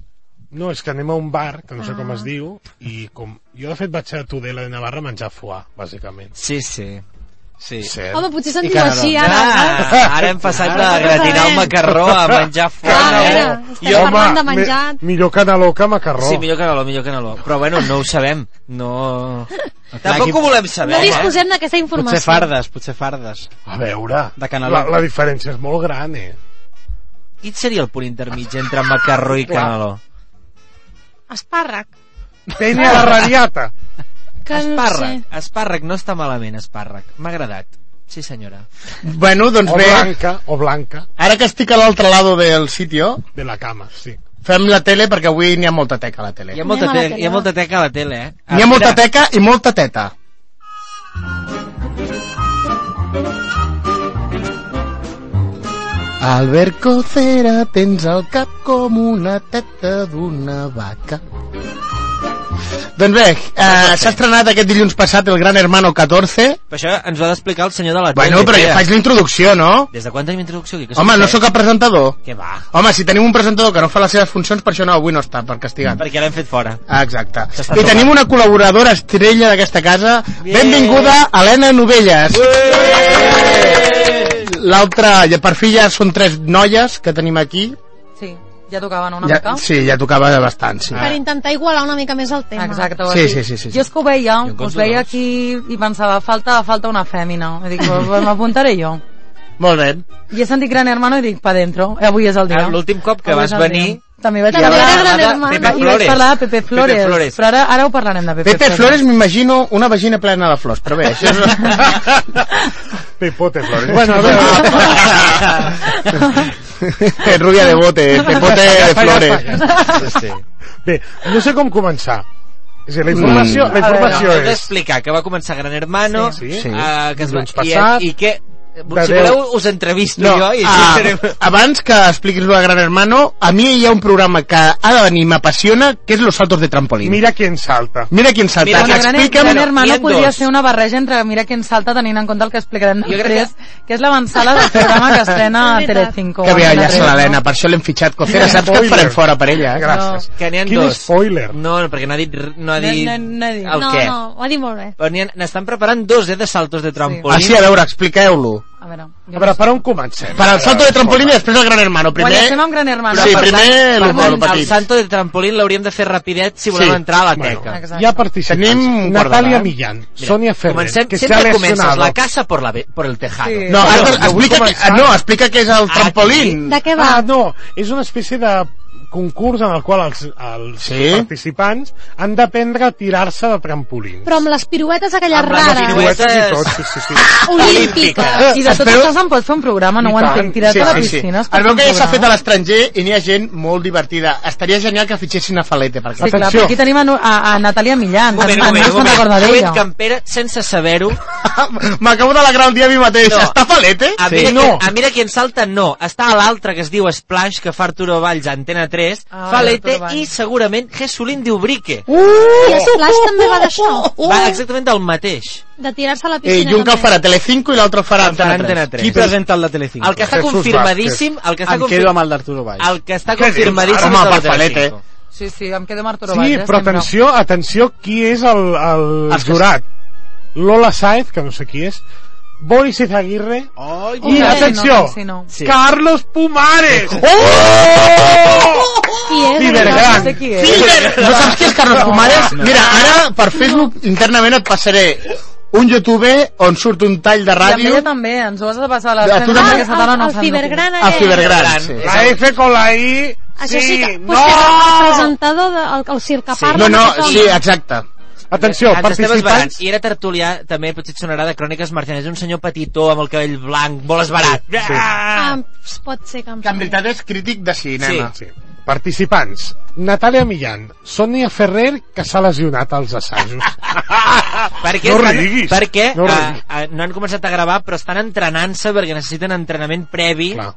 S7: No, és que anem a un bar, que no sé
S4: Ah.
S7: com es diu, i com... Jo, de fet, vaig a Tudela de Navarra a menjar foie, bàsicament.
S3: Sí, sí.
S6: Sí.
S3: Eh.
S7: Cert.
S4: Home, potser se'n
S6: I
S4: diu
S6: Canadà.
S4: així ara, saps?
S3: Ah, ara hem passat de gratinar un macarró a menjar foie.
S4: Clar, a veure, estem parlant de menjar...
S7: mi- millor caneló que macarró.
S3: Sí, millor caneló, millor caneló. Però bueno, no ho sabem. No... Tampoc
S6: aquí-
S3: ho volem saber.
S4: No
S3: eh?
S4: disposem d'aquesta
S6: Potser
S4: informació.
S6: fardes, potser fardes.
S7: A veure,
S6: De caneló.
S7: la, la diferència és molt gran, eh?
S3: Quin seria el punt intermig entre macarró i caneló?
S4: Espàrrec.
S7: Penya la radiata.
S4: Que
S3: Espàrrec.
S4: No sé.
S3: Espàrrec no està malament, espàrrec. M'ha agradat. Sí, senyora.
S2: Bueno, doncs
S7: O
S2: bé,
S7: blanca, o blanca,
S2: ara que estic a l'altre lado del sitio,
S7: de la cama, sí.
S2: fem la tele perquè avui n'hi ha molta teca a la tele.
S3: Hi ha molta,
S4: Anem a la
S3: te
S4: tele,
S3: hi ha
S4: va.
S3: molta teca a la tele, eh?
S2: N'hi ha molta teca i molta teta. Albert Cocera, tens el cap com una teta d'una vaca. Doncs bé, eh, s'ha estrenat aquest dilluns passat el Gran Hermano 14.
S3: Però això ens ho ha d'explicar el senyor de la tele.
S2: Bueno, però
S3: Pere.
S2: ja faig la introducció, no?
S3: Des de quan tenim introducció aquí? Que
S2: Home,
S3: sóc
S2: no
S3: fe-
S2: sóc el presentador.
S3: Què va?
S2: Home, si tenim un presentador que no fa les seves funcions, per això no, avui no està, per castigat.
S3: Perquè l'hem fet fora.
S2: Ah, Exacte.
S3: S'està
S2: I
S3: tocant.
S2: tenim una col·laboradora estrella d'aquesta casa. Benvinguda, Helena Novelles. L'altra, ja per fi ja són tres noies que tenim aquí.
S11: Sí, ja tocaven una
S2: Ja,
S11: mica.
S2: sí, ja tocava bastant, sí.
S4: Per intentar igualar una mica més el tema.
S11: Exacte.
S2: Sí,
S11: així.
S2: sí, sí, sí, sí.
S11: Jo és que ho veia,
S3: Jo en
S11: us
S3: compto
S11: veia
S3: dos.
S11: aquí i pensava, falta, falta una fèmina. I dic, "Pues, pues, m'apuntaré jo.
S2: Molt bé.
S11: I he sentit Gran Hermano i dic, pa dentro, eh, avui és el dia.
S3: Ah, L'últim cop que
S11: Avui
S3: vas
S11: és el
S3: venir...
S11: dia. També vaig
S4: També
S11: parlar,
S4: era Gran
S11: ara-
S4: Hermano.
S11: Pepe I vaig
S3: Flores.
S11: parlar de Pepe Flores.
S3: Pepe Flores.
S11: Però ara, ara ho parlarem de Pepe,
S2: Pepe Flores m'imagino una vagina plena de flors, però bé, això és...
S7: [LAUGHS] Pepote, Flores.
S2: bueno, a
S7: [LAUGHS]
S2: veure... Rubia de bote, Pepote Flores.
S6: Sí.
S7: Bé, no sé com començar. És a dir, la
S2: Mm.
S7: informació, la
S11: A veure,
S7: informació
S3: Heu
S7: és...
S3: d'explicar que va començar Gran Hermano,
S7: Sí.
S2: Sí.
S3: eh, que es va,
S7: Dilluns
S3: i,
S7: passat.
S3: i que si voleu, us entrevisto
S2: no,
S3: jo i així
S2: ah,
S3: farem...
S2: Abans que expliquis lo de Gran Hermano, a mi hi ha un programa que ha de venir i m'apassiona, que és Los Saltos de Trampolín. Mira
S7: qui en salta.
S2: Mira qui en salta.
S11: Mira, gran,
S2: Explica'm...
S11: gran hermano podria ser una barreja entre Mira qui ens salta tenint en compte el que explicarem
S2: crec
S11: després, que... que és l'avançada del programa que estrena a
S2: És veritat.
S11: Telecinco.
S2: Que bé, allà
S11: Andrés,
S2: se l'Helena,
S11: no?
S2: per això l'hem fitxat. Cocera,
S11: Quin
S2: saps que et
S11: spoiler.
S2: farem fora per ella, eh?
S11: Gràcies.
S3: Que n'hi ha
S11: Quin
S3: dos.
S7: spoiler.
S3: No, no, perquè n'ha dit... r- No ha
S4: No,
S3: dit...
S4: no,
S11: no ha dit.
S3: El
S4: no,
S3: què?
S4: no, ho ha dit molt bé.
S3: Però n'hi ha- n'estan preparant dos, eh, de saltos de trampolí.
S2: Ah, sí, a veure, expliqueu-lo.
S11: A veure,
S7: A veure, per on comencem?
S2: Per al salto de trampolín i després el Gran Hermano.
S11: Primer...
S2: Primer...
S11: Comencem amb Gran Hermano.
S2: Sí,
S11: per tant,
S2: primer lo-
S11: parlem
S2: lo petit.
S3: El salto de trampolín l'hauríem de fer rapidet si volem
S7: Sí.
S3: entrar a la
S7: Bueno,
S3: teca.
S7: Ja participants.
S2: un
S7: Natalia
S2: guardabà.
S7: Millán,
S3: Mira,
S7: Sonia Ferrer,
S3: Comencem,
S7: que se ha
S3: sempre comences
S7: lesionado.
S3: la casa por, la, ve- por el tejado.
S7: Sí.
S2: No, has de-
S7: Però, jo vull
S2: explica, que,
S7: començar.
S2: no, explica què és el trampolín.
S4: De què
S7: va? Ah, no, és una espècie de concurs en el qual els, els sí? participants han d'aprendre a tirar-se de trampolín.
S4: Però amb les piruetes aquelles
S7: Amb les
S4: rares. Ah,
S7: piruetes i tot, sí, sí, sí.
S4: Olímpiques.
S11: I de tot
S2: Espero-
S11: això se'n pot fer un programa, no ho entenc. Tirar-te a la piscina. es pot
S2: Es veu que
S11: fer
S2: ja
S11: un
S2: s'ha fet a
S11: programa.
S2: l'estranger i n'hi ha gent molt divertida. Estaria genial que fitxessin a Falete. Perquè...
S11: Sí, clar, però aquí tenim a, Nu- a, a Natàlia Millán.
S2: moment,
S11: tant-
S2: un moment,
S11: tant
S2: un
S11: se'n recorda
S2: moment.
S11: d'ella.
S2: Un moment,
S3: Campera, sense saber-ho...
S2: M'acabo d'alegrar el dia a mi mateix. Està Falete?
S3: A mira, no. a mira qui en salta, no. Està a l'altre que es diu Splash, que fa Arturo Valls a Antena 3,
S4: Ah,
S3: fa l'ET
S4: Arturo Valls.
S3: i segurament Jesulín d'Ubrique.
S2: Uh!
S4: I Splash també va d'això,
S3: Uh! Va exactament del mateix.
S4: de tirar-se a la
S2: Eh,
S4: piscina.
S2: i un que el
S4: també.
S2: farà Telecinco i l'altre el farà Antena 3.
S3: Antena 3.
S6: Qui presenta el de Telecinco?
S3: El que està
S6: Jesús
S3: confirmadíssim-
S6: Vázquez.
S3: el que està
S6: em
S3: confir-
S6: quedo amb el d'Arturo Valls.
S3: El que està
S6: Què dius?
S3: confirmadíssim
S6: Home,
S3: és el
S6: per Palet,
S3: Telecinco.
S11: Sí, sí, em quedo amb Arturo
S7: Sí,
S11: Valles.
S7: però atenció, atenció, qui és el, el jurat? Lola Saez, que no sé qui és, Boris Izaguirre,
S6: oh,
S7: i atenció, Carlos Pumares! Oh!
S4: Qui és?
S2: Cibergang.
S4: No sé qui és.
S2: Cibergang. No saps qui és Carlos Pumares?
S4: Ah, No.
S2: Mira, ara per Facebook internament et passaré un youtuber on surt un tall de
S11: I amb
S2: ràdio
S11: ella també, ens ho has de passar a
S2: Ah,
S11: l'estrena
S2: tu també?
S11: perquè aquesta tarda no
S4: El
S11: s'han
S4: Cibergran
S2: a Cibergrans. Sí.
S7: La F con la I...
S4: Això sí, que...
S7: no!
S4: Pues que era el presentador, de, el, el circ que
S2: No,
S4: parla.
S2: no,
S4: tothom.
S2: sí,
S7: eh.
S2: exacte.
S7: Atenció,
S3: Ens estem esbarant. I era tertulià, també potser et sonarà de Cròniques Marcianes, un senyor petitó amb el cabell blanc, molt esbarat. Sí.
S4: Ah, pues pot ser que em
S2: Que en veritat és crític de cinema.
S7: Sí. Participants, Natàlia Millán, Sonia Ferrer, que s'ha lesionat als assajos.
S4: Ah,
S3: Perquè,
S7: No
S3: estan-
S7: riguis.
S3: perquè
S7: No
S3: no,
S7: riguis.
S3: uh, no han començat a gravar, però estan entrenant-se perquè necessiten entrenament previ Clar.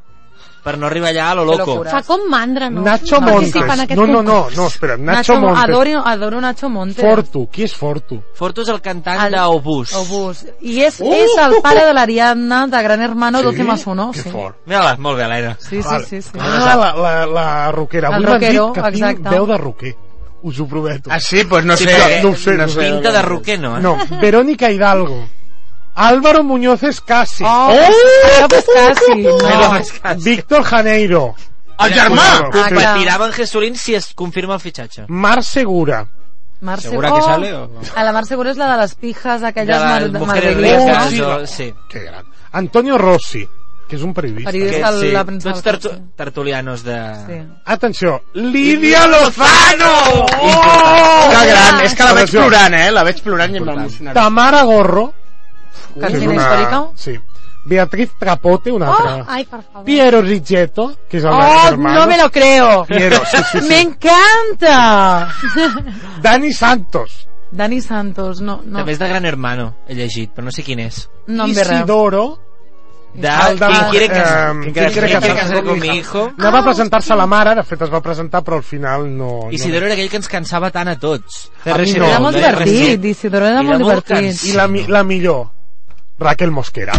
S3: per no arribar allà a lo loco.
S4: Fa com mandra, no?
S7: Nacho
S4: no
S7: Montes.
S4: participa en aquest
S7: No, no, no,
S4: concurs.
S7: no, espera, Nacho, Montes.
S11: Adoro, adoro Nacho Montes.
S7: Fortu, qui és Fortu?
S3: Forto és el cantant d'Obús.
S11: Obús. I és, és el pare de l'Ariadna, de Gran Hermano,
S7: Sí?
S11: 12 más 1.
S7: Que
S11: Sí.
S7: fort.
S3: Mira-la, molt bé, l'Aina.
S11: Sí, sí, sí, sí.
S7: Ah, la, la, la roquera.
S11: El
S7: Avui m'han dit
S11: roquero,
S7: que tinc
S11: exacte.
S7: veu de roquer. Us ho prometo.
S2: Ah, sí? Pues no
S3: Sí,
S2: sé.
S3: però
S2: no ho sé, no sé.
S3: pinta de roquer, no, eh?
S7: No, Verónica Hidalgo. Álvaro Muñoz Escasi.
S11: Oh, Álvaro Escasi, no. Álvaro
S7: Víctor Janeiro.
S2: El germà!
S3: Ah, Competirà amb en Jesulín si es confirma el fitxatge.
S7: Mar Segura.
S11: Mar
S3: Segura
S11: Segura.
S3: que sale o-
S11: A la Mar Segura és la de les pijas, aquelles
S3: De les
S11: mar-
S3: mujeres
S11: madrileñas.
S3: ricas, o- sí.
S7: Qué gran. Antonio Rossi, que és un periodista.
S11: Periodista,
S3: Aquest, sí.
S11: la principal
S3: Tots tertu tertulianos de... Sí.
S7: Atenció, Lídia Lozano!
S2: Oh! Que gran, és que la veig
S7: Atenció.
S2: plorant, eh? La veig plorant i em va emocionar.
S7: Tamara Gorro.
S2: Cantina
S7: que és
S2: històrica?
S7: Sí. Beatriz Trapote, una
S11: Oh,
S7: altra.
S4: Ai, per favor.
S7: Piero Rigetto, que és el
S11: Oh,
S7: hermano.
S11: no me lo creo.
S7: Piero, sí, sí, sí.
S11: [LAUGHS] Me
S2: [LAUGHS]
S11: encanta.
S7: Dani Santos.
S11: Dani Santos, no, no.
S3: També és de Gran Hermano, he llegit, però no sé quin és.
S11: No em ve res.
S7: Isidoro.
S3: De Quien quiere casar-
S7: ehm,
S3: Quien
S7: Quien quiere
S3: quiere
S7: casar
S3: casar con
S7: con
S3: mi hijo.
S7: No
S11: Ah,
S7: va presentar-se a la mare, de fet es va presentar, però al final no...
S3: Isidoro era aquell que ens cansava tant a tots.
S7: A mi no.
S11: Era molt divertit, Isidoro era molt divertit.
S7: I la, mi- la millor, Raquel Mosquera.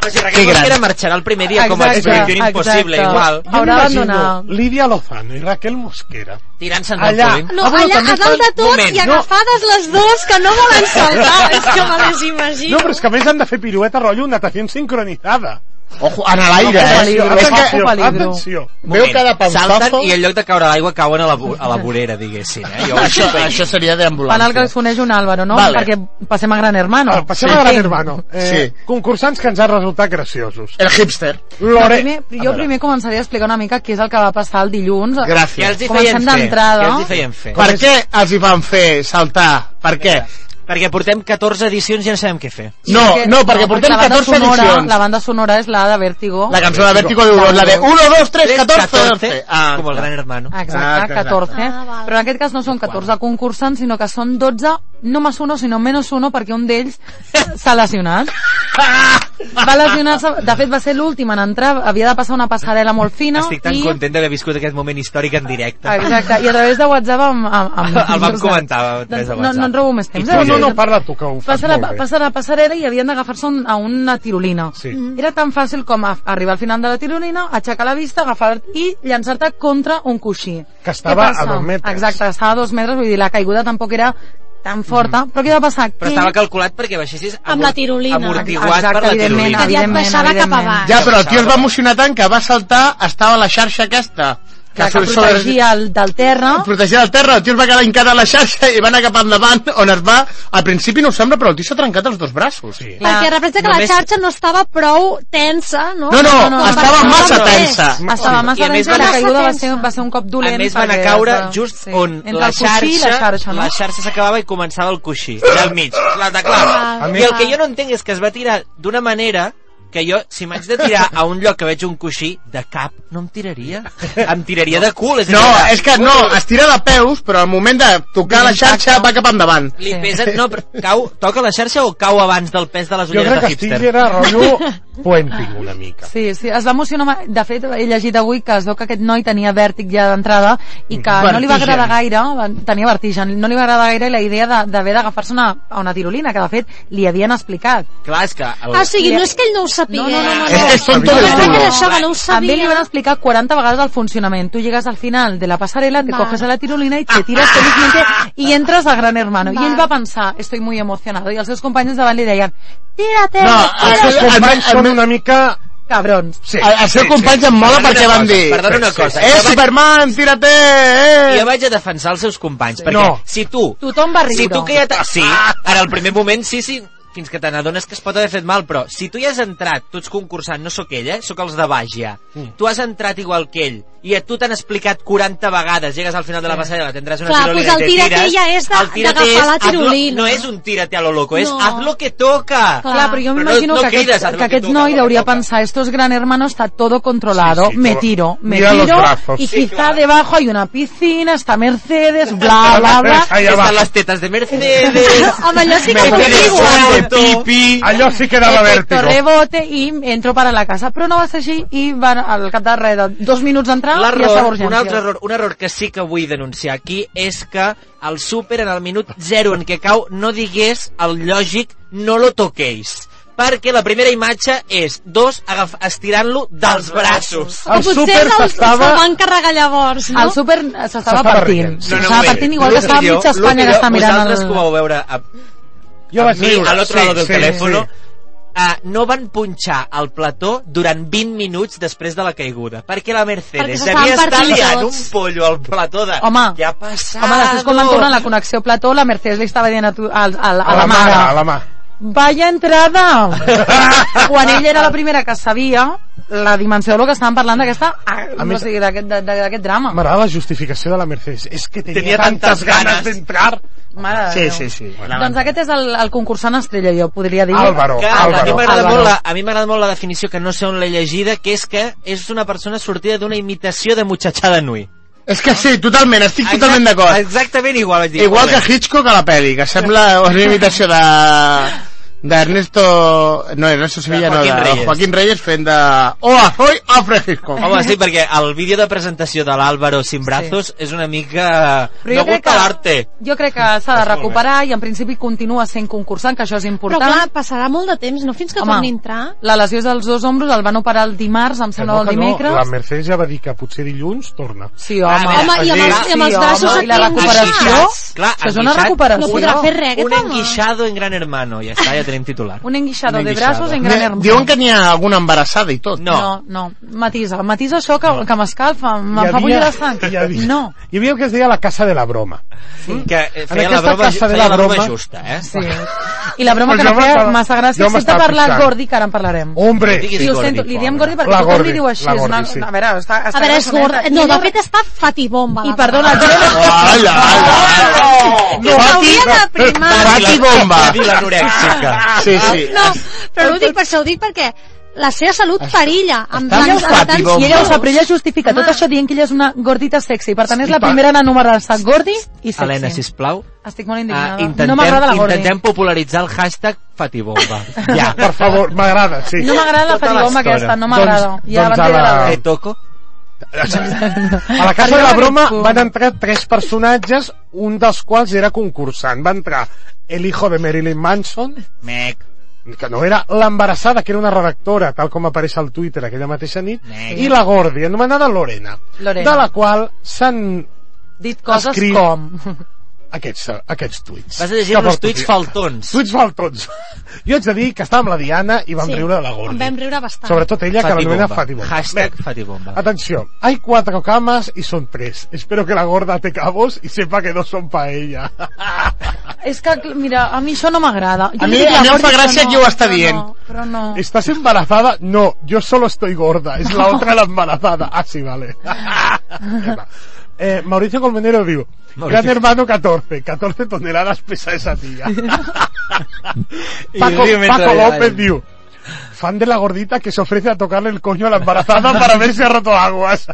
S3: Però si Raquel Mosquera marxarà el primer dia com a
S7: Exacte,
S3: expedició impossible,
S7: exacte.
S3: igual.
S7: Jo m'imagino Lídia Lozano i Raquel Mosquera.
S3: Tirant-se en
S7: Allà.
S3: trampolín.
S4: No,
S7: Ah, bueno,
S4: allà,
S7: també
S4: a dalt de
S7: fan-
S4: tot
S7: Moment,
S4: i
S7: no.
S4: agafades les dues que no volen saltar. és que me les imagino.
S7: No, però és que a més han de fer pirueta rotllo natació sincronitzada.
S2: Ojo, en l'aire, eh?
S7: Atenció,
S2: És que-
S7: atenció, atenció.
S2: Veu cada panzazo...
S3: Salten i en lloc de caure a l'aigua cauen a la, bu- a la vorera, diguéssim. Eh? Jo,
S2: Això, això seria
S11: Fan el
S2: d'ambulància.
S11: que es coneix un Álvaro, no?
S2: Vale.
S11: Perquè passem a Gran Hermano.
S7: Ah, Passem
S11: Sí.
S7: a Gran Hermano. Eh,
S11: Sí.
S7: Concursants que ens han resultat graciosos.
S2: El hipster.
S11: No,
S7: Lore...
S11: primer, jo primer començaria a explicar una mica què és el que va passar el dilluns.
S2: Gràcies.
S11: Comencem d'entrada.
S2: Per què els hi van fer saltar? Per què?
S3: Perquè portem 14 edicions i ja no sabem què fer.
S11: Sí, és que- la banda sonora, La banda sonora és la de Vértigo.
S2: La cançó de Vértigo de Urón, la de 1, 2, 3, 14, 12.
S3: Ah, com el gran hermano.
S11: Exacte, 14. Però en aquest cas no són 14 concursants, sinó que són 12, no més uno, sinó menys uno, perquè un d'ells
S3: [LAUGHS]
S11: s'ha lesionat. Va lesionar-se, de fet va ser l'últim en entrar, havia de passar una passarel·la molt fina.
S3: Estic tan
S11: i...
S3: content d'haver viscut aquest moment històric en directe.
S11: Exacte, i a través de WhatsApp amb... amb, amb
S3: El vam comentar a través de
S11: no,
S3: WhatsApp.
S11: no en robo més temps. eh?
S3: No, no, no,
S7: parla tu, que ho
S11: passa la, passa la passarel·la i havien d'agafar-se un, a una tirolina. Sí. Era tan fàcil com a, arribar al final de la tirolina, aixecar la vista, agafar i llançar-te contra un coixí.
S7: Que estava
S11: Què passa?
S7: a dos metres.
S11: Exacte, estava a dos metres, vull dir, la caiguda tampoc era tan forta,
S7: Mm.
S11: però què va passar?
S3: Però
S11: Que-
S3: estava calculat perquè baixessis
S11: Amb la tirolina.
S3: amortiguat
S11: Exacte,
S3: per la
S11: evidentment,
S3: tirolina.
S11: evidentment, evidentment.
S2: Ja, però el tio es va emocionar tant que va saltar, estava a la xarxa aquesta.
S11: Clar, que protegia el, del terra.
S2: Protegia del terra, el tio es va quedar encara a la xarxa i va anar cap endavant, on es va... Al principi no ho sembla, però el tio s'ha trencat els dos braços. Sí.
S4: Perquè representa que la xarxa no estava prou tensa, no?
S2: No, no, estava
S4: per-
S2: massa
S4: no, no,
S2: tensa.
S4: és.
S11: Estava Ah, massa
S3: I a més
S11: tensa,
S3: van-
S11: la caiguda va ser, va ser un cop dolent.
S3: a més van a
S11: perquè
S3: caure
S11: es va-
S3: just sí. on
S11: Entre
S3: la
S11: el
S3: xarxa,
S11: coixí i la xarxa, no?
S3: la xarxa s'acabava i començava el
S11: [LAUGHS]
S3: coixí, allà al mig, la teclava.
S11: Ah,
S3: I el
S11: clar.
S3: que jo no entenc és que es va tirar d'una manera que jo, si m'haig de tirar a un lloc que veig un coixí, de cap no em tiraria. Em tiraria de cul. És a dir,
S2: No, és que no, es tira de peus, però al moment de tocar la xarxa va cap endavant.
S3: Li pesa... No, però cau, toca la xarxa o cau abans del pes de les
S7: Jo
S3: ulleres
S7: crec
S3: de
S7: que Stig
S3: hipster?
S7: era [LAUGHS] rotllo puenting una mica.
S11: Sí, sí, es va emocionar. ma- De fet, he llegit avui que es veu que aquest noi tenia vèrtic ja d'entrada i que
S3: Mm-hmm.
S11: no li va
S12: Vertigen.
S11: agradar gaire, va- tenia vertigen, no li va agradar gaire la idea de- d'haver d'agafar-se una, a una tirolina, que de fet li havien explicat.
S3: Clar, és que... El...
S4: Ah, o sigui, no és que ell no ho sapigués. No, no, no,
S11: És que són
S4: no.
S11: todos
S4: Jo crec que
S11: uno.
S4: era això, que Ah, no ho
S11: També li
S4: sabia.
S11: van explicar 40 vegades el funcionament. Tu llegas al final de la pasarela, te
S4: Va.
S11: coges a la tirolina y te tiras felizmente y entras a Gran Hermano. Y él va pensar, estoy muy emocionado. Y els seus companys davant li deien, tírate, eh,
S2: els seus companys són
S7: una mica...
S3: eh,
S11: Cabrons.
S2: el, el seu company em mola perquè van dir...
S3: Perdona una cosa.
S2: Eh,
S3: Jo vaig-
S2: Superman, tírate! Eh!
S3: Jo vaig a defensar els seus companys, perquè
S2: No.
S3: si tu...
S11: Tothom va riure.
S3: Si tu que ja... t'ha- Ah, Sí, en el primer moment sí, sí, fins que te n'adones que es pot haver fet mal, però si tu ja has entrat, tu ets concursant, no sóc ell, eh? Sóc els de baix, ja.
S11: Mm.
S3: Tu has entrat igual que ell, i a tu t'han explicat 40 vegades, llegues al final de la passarel·la, tindràs una
S4: Clar,
S3: tirolina
S4: doncs el
S3: i te
S4: tírate
S3: tires...
S4: ja és de-
S3: el tírate
S4: d'agafar
S3: és
S4: la
S3: hazlo-
S4: tirolina.
S3: No és un tírate a lo loco, és
S11: No.
S3: haz lo que toca.
S11: Clar, però jo m'imagino
S3: no, no
S11: que,
S3: crides,
S11: aquest,
S3: haz lo
S11: que aquest noi deuria pensar esto es gran hermano, está todo controlado,
S3: Sí, sí,
S11: me
S3: todo.
S11: tiro, me
S3: Mira los
S11: tiro,
S3: brazos.
S11: y
S3: Sí,
S11: quizá debajo hay una piscina, está Mercedes,
S7: Ah,
S11: bla, bla,
S3: [LAUGHS]
S11: bla.
S3: Están las tetas de
S4: [LAUGHS]
S3: Mercedes.
S11: Home, allò sí que
S3: me
S11: ho
S3: quedes
S11: digo,
S3: suelto.
S7: Allò sí que dava
S11: Efecto
S7: vèrtigo.
S11: rebote i entro per a la casa. Però no va ser així i van al cap de res, de dos minuts d'entrar i Ah, ja estava a
S3: L'error,
S11: urgències.
S3: un altre error, un error que sí que vull denunciar aquí és que el súper en el minut zero en què cau no digués el lògic no lo toquéis perquè la primera imatge és dos agaf- estirant-lo dels braços.
S4: O potser el- se'l van carregar llavors, no?
S11: El súper s'estava partint.
S3: No, no,
S11: S'estava
S3: ho
S11: partint
S3: veia.
S11: igual que estava
S3: Lo
S11: mitja
S3: jo- lo
S11: Espanya que
S3: jo-
S11: està mirant
S3: Vosaltres
S11: el...
S3: que ho vau veure a,
S7: jo
S3: a
S7: vaig
S3: mi,
S7: riure.
S3: a l'altre
S7: Sí,
S3: lado del
S7: sí,
S3: telèfono,
S7: sí.
S3: Uh, no van punxar el plató durant 20 minuts després de la caiguda, perquè la
S11: Perquè
S3: Mercedes
S11: s'estaven
S3: havia estat
S11: partint
S3: liant un
S11: tots.
S3: pollo al plató de...
S11: Home,
S3: què ha passat?
S11: home, després quan van tornar a la connexió plató, la Mercedes li estava dient a, tu, a, a, a, la mare,
S7: a la mà.
S11: Vaya entrada!
S7: [LAUGHS]
S11: Quan ell era la primera que sabia la dimensió del que estàvem parlant d'aquesta
S7: A
S11: ah,
S7: més-
S11: o sigui, d'aquest de- de- d'aquest drama.
S7: M'agrada la justificació de la Mercedes. És que tenia,
S11: Tenia
S7: tantes,
S11: tantes
S7: ganes
S11: ganes.
S7: d'entrar.
S11: Mare de
S7: Sí,
S11: Déu.
S7: sí, sí.
S11: Doncs aquest és el, el concursant estrella, jo podria dir.
S7: Álvaro,
S3: Clar, a mi m'agrada
S11: Álvaro.
S3: molt, la- a mi m'agrada molt la definició que no sé on l'he llegida, que és que és una persona sortida d'una imitació de Muchachada Nui.
S2: És que sí, totalment, estic totalment d'acord.
S3: Exactament igual, vaig dir.
S2: Igual
S3: molt bé.
S2: que Hitchcock a la pel·li, que [LAUGHS] sembla una imitació de d'Ernesto... No, Ernesto Sevilla, no,
S3: Joaquín
S2: de
S3: Reyes.
S2: Joaquín Reyes fent de... Oh, ahoy, Alfred Hitchcock.
S3: Home, sí, perquè el vídeo de presentació de l'Àlvaro sin brazos és una mica...
S11: Però jo
S3: no
S11: crec
S3: gusta
S11: que-
S3: l'arte.
S11: Jo crec que s'ha
S3: Està
S11: de
S3: molt
S11: recuperar i en principi continua sent concursant, que això és
S4: Però
S11: important.
S4: clar, passarà molt de temps, no? Fins que
S11: Home,
S4: torni a entrar.
S11: La lesió és dels dos ombros, el van operar el dimarts, em
S7: Que
S11: sembla,
S7: no,
S11: o el
S7: que no.
S11: dimecres.
S7: La Mercedes ja va dir que potser dilluns torna.
S11: Sí, home.
S4: Home, i amb els- i amb els braços
S11: home, i la
S4: aquí
S11: recuperació?
S4: enguixats.
S3: Clar,
S11: Això és una
S3: enguixat,
S11: recuperació. No podrà fer
S4: res, aquest
S3: Un
S4: home.
S3: enguixado en gran hermano. Ja està, ja tenim titular.
S11: Un enguixado
S3: Un
S11: de
S3: enguixado.
S11: braços en gran
S3: Ne-
S11: hermano.
S2: Diuen que n'hi ha alguna embarassada i tot.
S11: No, no, matisa, matisa això que, que m'escalfa, em
S7: Hi
S11: fa
S7: havia-
S11: bullir la sang.
S7: hi havia-
S11: No.
S7: Hi havia el que es deia la casa de la broma.
S3: Sí. Que eh,
S7: En
S3: feia la
S7: aquesta
S3: broma,
S7: casa de
S3: feia
S7: la
S3: la broma
S7: broma-
S3: justa, eh?
S11: Sí. I la broma
S7: Però
S11: que no
S7: jo
S11: feia
S7: m'estava-
S11: massa gràcia,
S7: jo
S11: excepte
S7: m'estava
S11: parlar
S7: fixant.
S11: Gordi, que ara en parlarem.
S7: Hombre!
S11: sí,
S7: Sí,
S11: ho
S7: Gordi,
S11: sento, li diem Gordi perquè
S7: La
S11: tothom
S7: Gordi,
S11: li diu així.
S7: la
S11: és una,
S7: Gordi, sí.
S11: A veure, està, està
S4: A veure, és
S11: gracioneta.
S4: gorda. No, de fet està fatibomba.
S11: I perdona, jo...
S2: Hola, hola.
S4: que s'hauria d'aprimar.
S2: Pati bomba.
S3: Dir l'anorèxica.
S2: Sí, sí.
S4: No, però no ho dic per això, ho dic perquè la seva salut perilla. Amb
S11: Ella ho
S4: tants, amb
S11: sap,
S4: tants...
S11: i ella ho sap, però ella justifica tot això dient que ella és una gordita sexy. Per tant, és la primera en enumerar-se gordi i sexy.
S3: Helena, sisplau,
S11: Estic molt
S3: ah,
S11: indignada.
S3: intentem,
S11: no m'agrada la gordi.
S3: intentem popularitzar el hashtag fatibomba. Ja.
S7: Per favor, m'agrada, sí.
S11: No m'agrada la
S3: Tota l'estona.
S11: fatibomba aquesta, no m'agrada.
S7: Doncs-
S11: Ja
S7: doncs
S11: abans
S7: a la-
S11: la...
S3: Te
S11: [LAUGHS]
S3: toco.
S7: A la casa de la broma van entrar tres personatges, un dels quals era concursant. Va entrar el hijo de Marilyn Manson,
S3: Mec.
S7: que no era l'embarassada, que era una redactora, tal com apareix al Twitter aquella mateixa nit,
S3: Mec.
S7: i la Gordi, anomenada Lorena,
S11: Lorena.
S7: de la qual s'han
S11: Dit coses
S7: escrit-
S11: com...
S7: aquests, aquests tuits.
S3: Vas a llegir
S7: Que
S3: uns
S7: porto
S3: tuits
S7: aquí.
S3: faltons.
S7: Tuits faltons. Jo haig de dir que estava amb la Diana i vam
S4: Sí,
S7: riure de la Gordi.
S4: en vam riure bastant.
S7: Sobretot ella, que l'anomena Fatibomba.
S3: Hashtag
S7: Bé,
S3: fatibomba.
S7: Atención, hay cuatro camas y son tres. Espero que la gorda te cabos y sepa que dos son para ella.
S11: És que, cl- mira, a mi això no m'agrada. Jo
S2: A mi-
S11: dic la
S2: a mi em
S11: Gordi,
S2: fa
S11: però
S2: gràcia
S11: no,
S2: que ho està
S11: però
S2: dient.
S11: no, Però no.
S7: ¿Estás embarazada? No, yo solo estoy gorda. Es la otra la embarazada. Ah, sí,
S11: [LAUGHS]
S7: vale. Eh, Mauricio Colmenero digo, gran hermano 14, 14 toneladas pesa esa
S11: [LAUGHS]
S7: tía. [LAUGHS] Paco,
S6: río mientras
S7: Paco
S6: le da
S7: López
S6: el-
S7: digo, fan de la gordita que se ofrece a tocarle el coño a la embarazada para ver si ha roto aguas.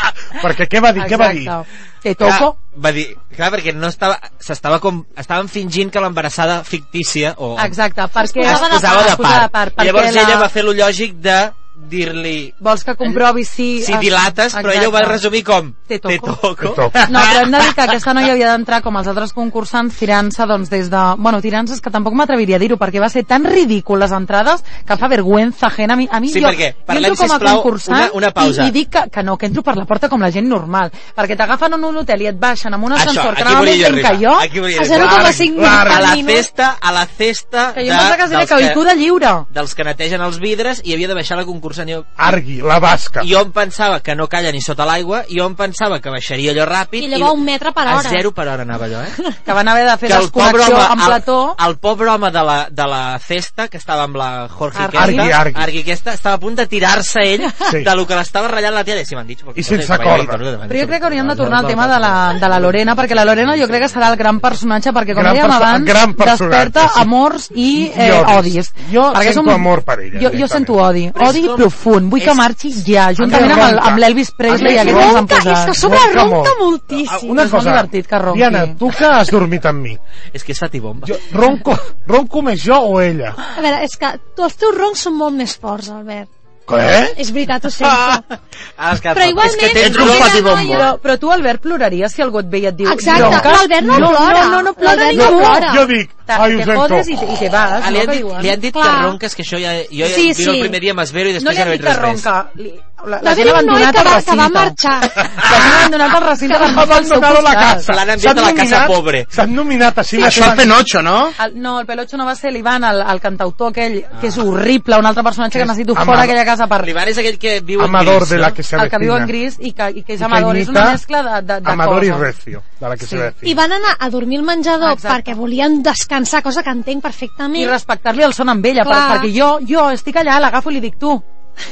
S7: [LAUGHS] Porque qué va a decir, qué va a decir.
S11: Exacte. Te toco.
S3: va dir, clar, perquè no estava, s'estava com, estaven fingint que l'embarassada fictícia o
S11: Exacte, perquè...
S4: posava
S3: es posava de
S11: es posava
S3: part. I
S11: perquè
S3: llavors
S11: la-
S3: ella va fer lo lògic de dir-li
S11: Vols que comprovi si...
S3: si dilates, però ella ho va
S11: Exacte.
S3: resumir com
S11: Te toco.
S3: toco.
S7: Te toco.
S11: No, però hem de dir que aquesta noia havia d'entrar com els altres concursants tirant-se doncs, des de... Bueno, tirant-se és que tampoc m'atreviria a dir-ho perquè va ser tan ridícul les entrades que fa vergüenza ajena a mi. A mi
S3: Sí,
S11: jo,
S3: perquè,
S11: jo
S3: parlem,
S11: entro com a
S3: sisplau,
S11: concursant
S3: una- una pausa.
S11: I, i dic que, que no, que entro per la porta com la gent normal perquè t'agafen en un hotel i et baixen amb un
S3: Això,
S11: ascensor
S3: aquí
S11: que anava
S3: volia
S11: més
S3: jo
S11: lent que
S3: arribar,
S11: jo
S3: aquí volia
S4: A
S3: jo arribar.
S4: 0,5
S3: A la
S4: minuts.
S3: cesta, a la cesta
S11: que jo
S3: de,
S11: em pensava que era
S3: dels,
S11: caiguda lliure.
S3: dels que netegen els vidres i havia de baixar la concursant. Jo,
S7: Argui, la vasca.
S3: jo em pensava que no calla ni sota l'aigua, jo em pensava que baixaria allò ràpid
S4: I allò va un metre per hora.
S3: A zero per hora anava
S11: [LAUGHS]
S3: allò, eh?
S11: que van haver de fer desconnexió amb plató
S3: El, el pobre home de la, de la cesta, que estava amb la Jorge
S11: Argui.
S3: aquesta,
S7: Argui, Argui.
S3: aquesta, estava a punt de tirar-se ell
S7: Sí.
S3: sí. de lo que l'estava ratllant la tia, i si m'han dit...
S7: I sense corda.
S11: però jo crec que hauríem de tornar al tema de la, de la Lorena, perquè la Lorena jo crec que serà el gran personatge, perquè com
S7: Gran
S11: dèiem
S7: perso-
S11: abans,
S7: gran personatge,
S11: desperta
S7: sí.
S11: amors i eh,
S7: I
S11: odis.
S7: odis. Jo
S11: Perquè és
S7: sento amor per ella,
S11: Jo, jo
S7: directament.
S11: sento odi.
S3: Però és
S11: Odi
S3: com-
S11: profund. Vull que
S3: és-
S11: marxi ja,
S7: mi
S11: juntament amb el-
S7: ronca.
S11: amb l'Elvis
S7: A
S11: Presley
S7: mi
S11: i aquests que ens han
S4: Ronca, és que a
S11: posat.
S4: sobre
S7: Ronca
S4: ronca
S7: molt.
S4: moltíssim.
S7: Una
S11: és molt
S7: cosa,
S11: divertit que ronqui.
S7: Diana, tu que has dormit amb mi,
S3: És que és fatibomba.
S7: jo, ronco, ronco més jo o ella?
S4: A veure, és que tu, els teus roncs són molt més forts, Albert.
S7: Eh?
S4: És veritat, ho sento.
S3: Ah, és que,
S4: Però igualment...
S3: És que tens
S4: aquella
S3: un
S4: noia-
S3: fatibomba.
S11: Però, però tu, Albert, ploraries si algú et veia et diu...
S4: Exacte,
S11: "Ronques"?
S4: l'Albert no plora.
S11: No, no, no plora
S4: L'Albert no
S11: ningú.
S4: plora.
S7: Jo dic,
S11: Te,
S7: ai, ho
S11: te jodes i,
S7: sento.
S11: i te vas,
S3: Ah, li,
S11: no,
S3: han
S11: que
S3: dit,
S11: diuen.
S3: li han dit que
S4: Clar.
S3: ronques, que això ja... Jo ja
S4: Sí,
S3: sí, vino
S4: sí.
S3: el primer dia, m'esvero i
S11: no
S3: després
S11: li
S3: ja
S11: han
S3: no veig
S11: dit
S3: res
S11: que
S3: més.
S11: ronca. "Ah, Li, la,
S4: Va
S11: la gent
S4: haver-hi
S11: Ah. ha
S4: un noi
S11: abandonat
S4: que
S11: el
S4: va, que va
S11: recinte.
S4: marxar.
S11: La gent ha abandonat el [LAUGHS] recinte per marxar al seu
S7: Abandonado la
S11: costat.
S7: casa.
S3: L'han enviat
S7: S'han
S3: a la casa
S7: nominat-
S3: pobre.
S7: S'han nominat a si
S2: Això
S7: mateixes.
S2: el Penocho, no?
S11: El, no, el Pelocho no va ser l'Ivan, el, el cantautor aquell, que és horrible, un altre personatge que necessito
S7: Amado.
S11: fora d'aquella casa per...
S3: L'Ivan és aquell que viu
S7: Amador
S3: en gris,
S7: de la que se
S11: El que viu en
S7: avecina.
S11: gris i que, i que és
S7: I que
S11: amador. És una
S7: imita
S11: mescla de, de, de
S7: Amador i
S11: coses.
S7: Recio, de la que
S11: Sí.
S7: se
S4: I
S7: avecina.
S4: van anar a dormir al menjador
S11: Exacte.
S4: perquè volien descansar, cosa que entenc perfectament.
S11: I respectar-li el son amb ella, per,
S4: Clar.
S11: perquè jo, jo estic allà, l'agafo i li dic tu,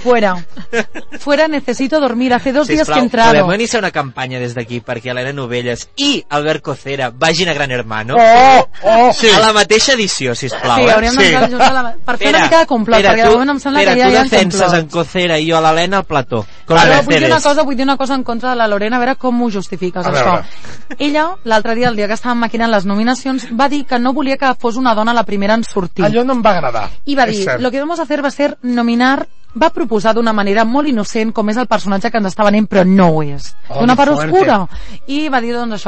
S11: fuera. Fuera, necesito dormir. Hace dos dies que he entrado.
S3: podem iniciar una campanya des d'aquí perquè Helena Novelles i Albert Cocera vagin a Gran Hermano
S7: Oh, oh, sí.
S3: a la mateixa edició, sisplau.
S11: Sí,
S3: eh?
S11: hauríem d'entrar
S7: Sí.
S11: junts a la... Per fer una mica de complot,
S3: Pere,
S11: perquè de
S3: tu-
S11: moment em sembla
S3: Pere,
S11: que ja hi ha
S3: tu defenses
S11: complot.
S3: en Cocera i jo a l'Helena al plató. Con
S11: Però
S3: las
S11: vull dir una
S3: Mercedes.
S11: cosa, vull dir una cosa en contra de la Lorena, a veure com ho justifiques,
S7: A
S11: això.
S7: veure.
S11: Ella, l'altre dia, el dia que estàvem maquinant les nominacions, va dir que no volia que fos una dona la primera en sortir.
S7: Allò no em va agradar.
S11: I va
S7: És
S11: dir,
S7: cert.
S11: lo que vamos a hacer va ser nominar va proposar d'una manera molt innocent com és el personatge que ens està venent, però no ho és.
S7: Oh,
S11: d'una
S7: que
S11: part
S7: fuerte.
S11: oscura. I va dir, doncs, això,